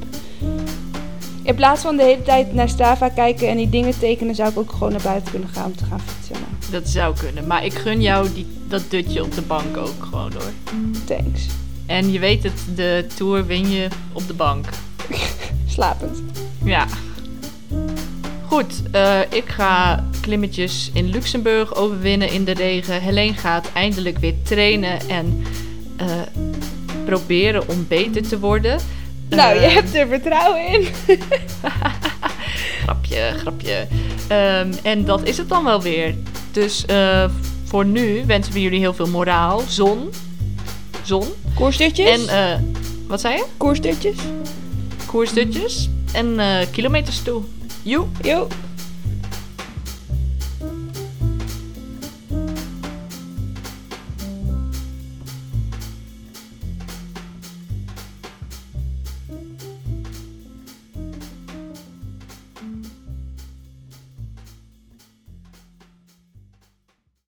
In plaats van de hele tijd naar Strava kijken en die dingen tekenen, zou ik ook gewoon naar buiten kunnen gaan om te gaan fietsen. Maar
Dat zou kunnen. Maar ik gun jou die, dat dutje op de bank ook gewoon hoor.
thanks.
En je weet het, de Tour win je op de bank.
slapend.
Ja. Goed, eh, ik ga klimmetjes in Luxemburg overwinnen in de regen. Helene gaat eindelijk weer trainen en eh, proberen om beter te worden.
nou,
Eh,
je hebt er vertrouwen in.
Grapje, grapje. Ehm, en dat is het dan wel weer. Dus eh, voor nu wensen we jullie heel veel moraal, zon. Zon. En
Koersdutjes?
eh, wat zei je?
Koersdutjes?
Koersdutjes en eh, kilometers toe. Joe.
Jo.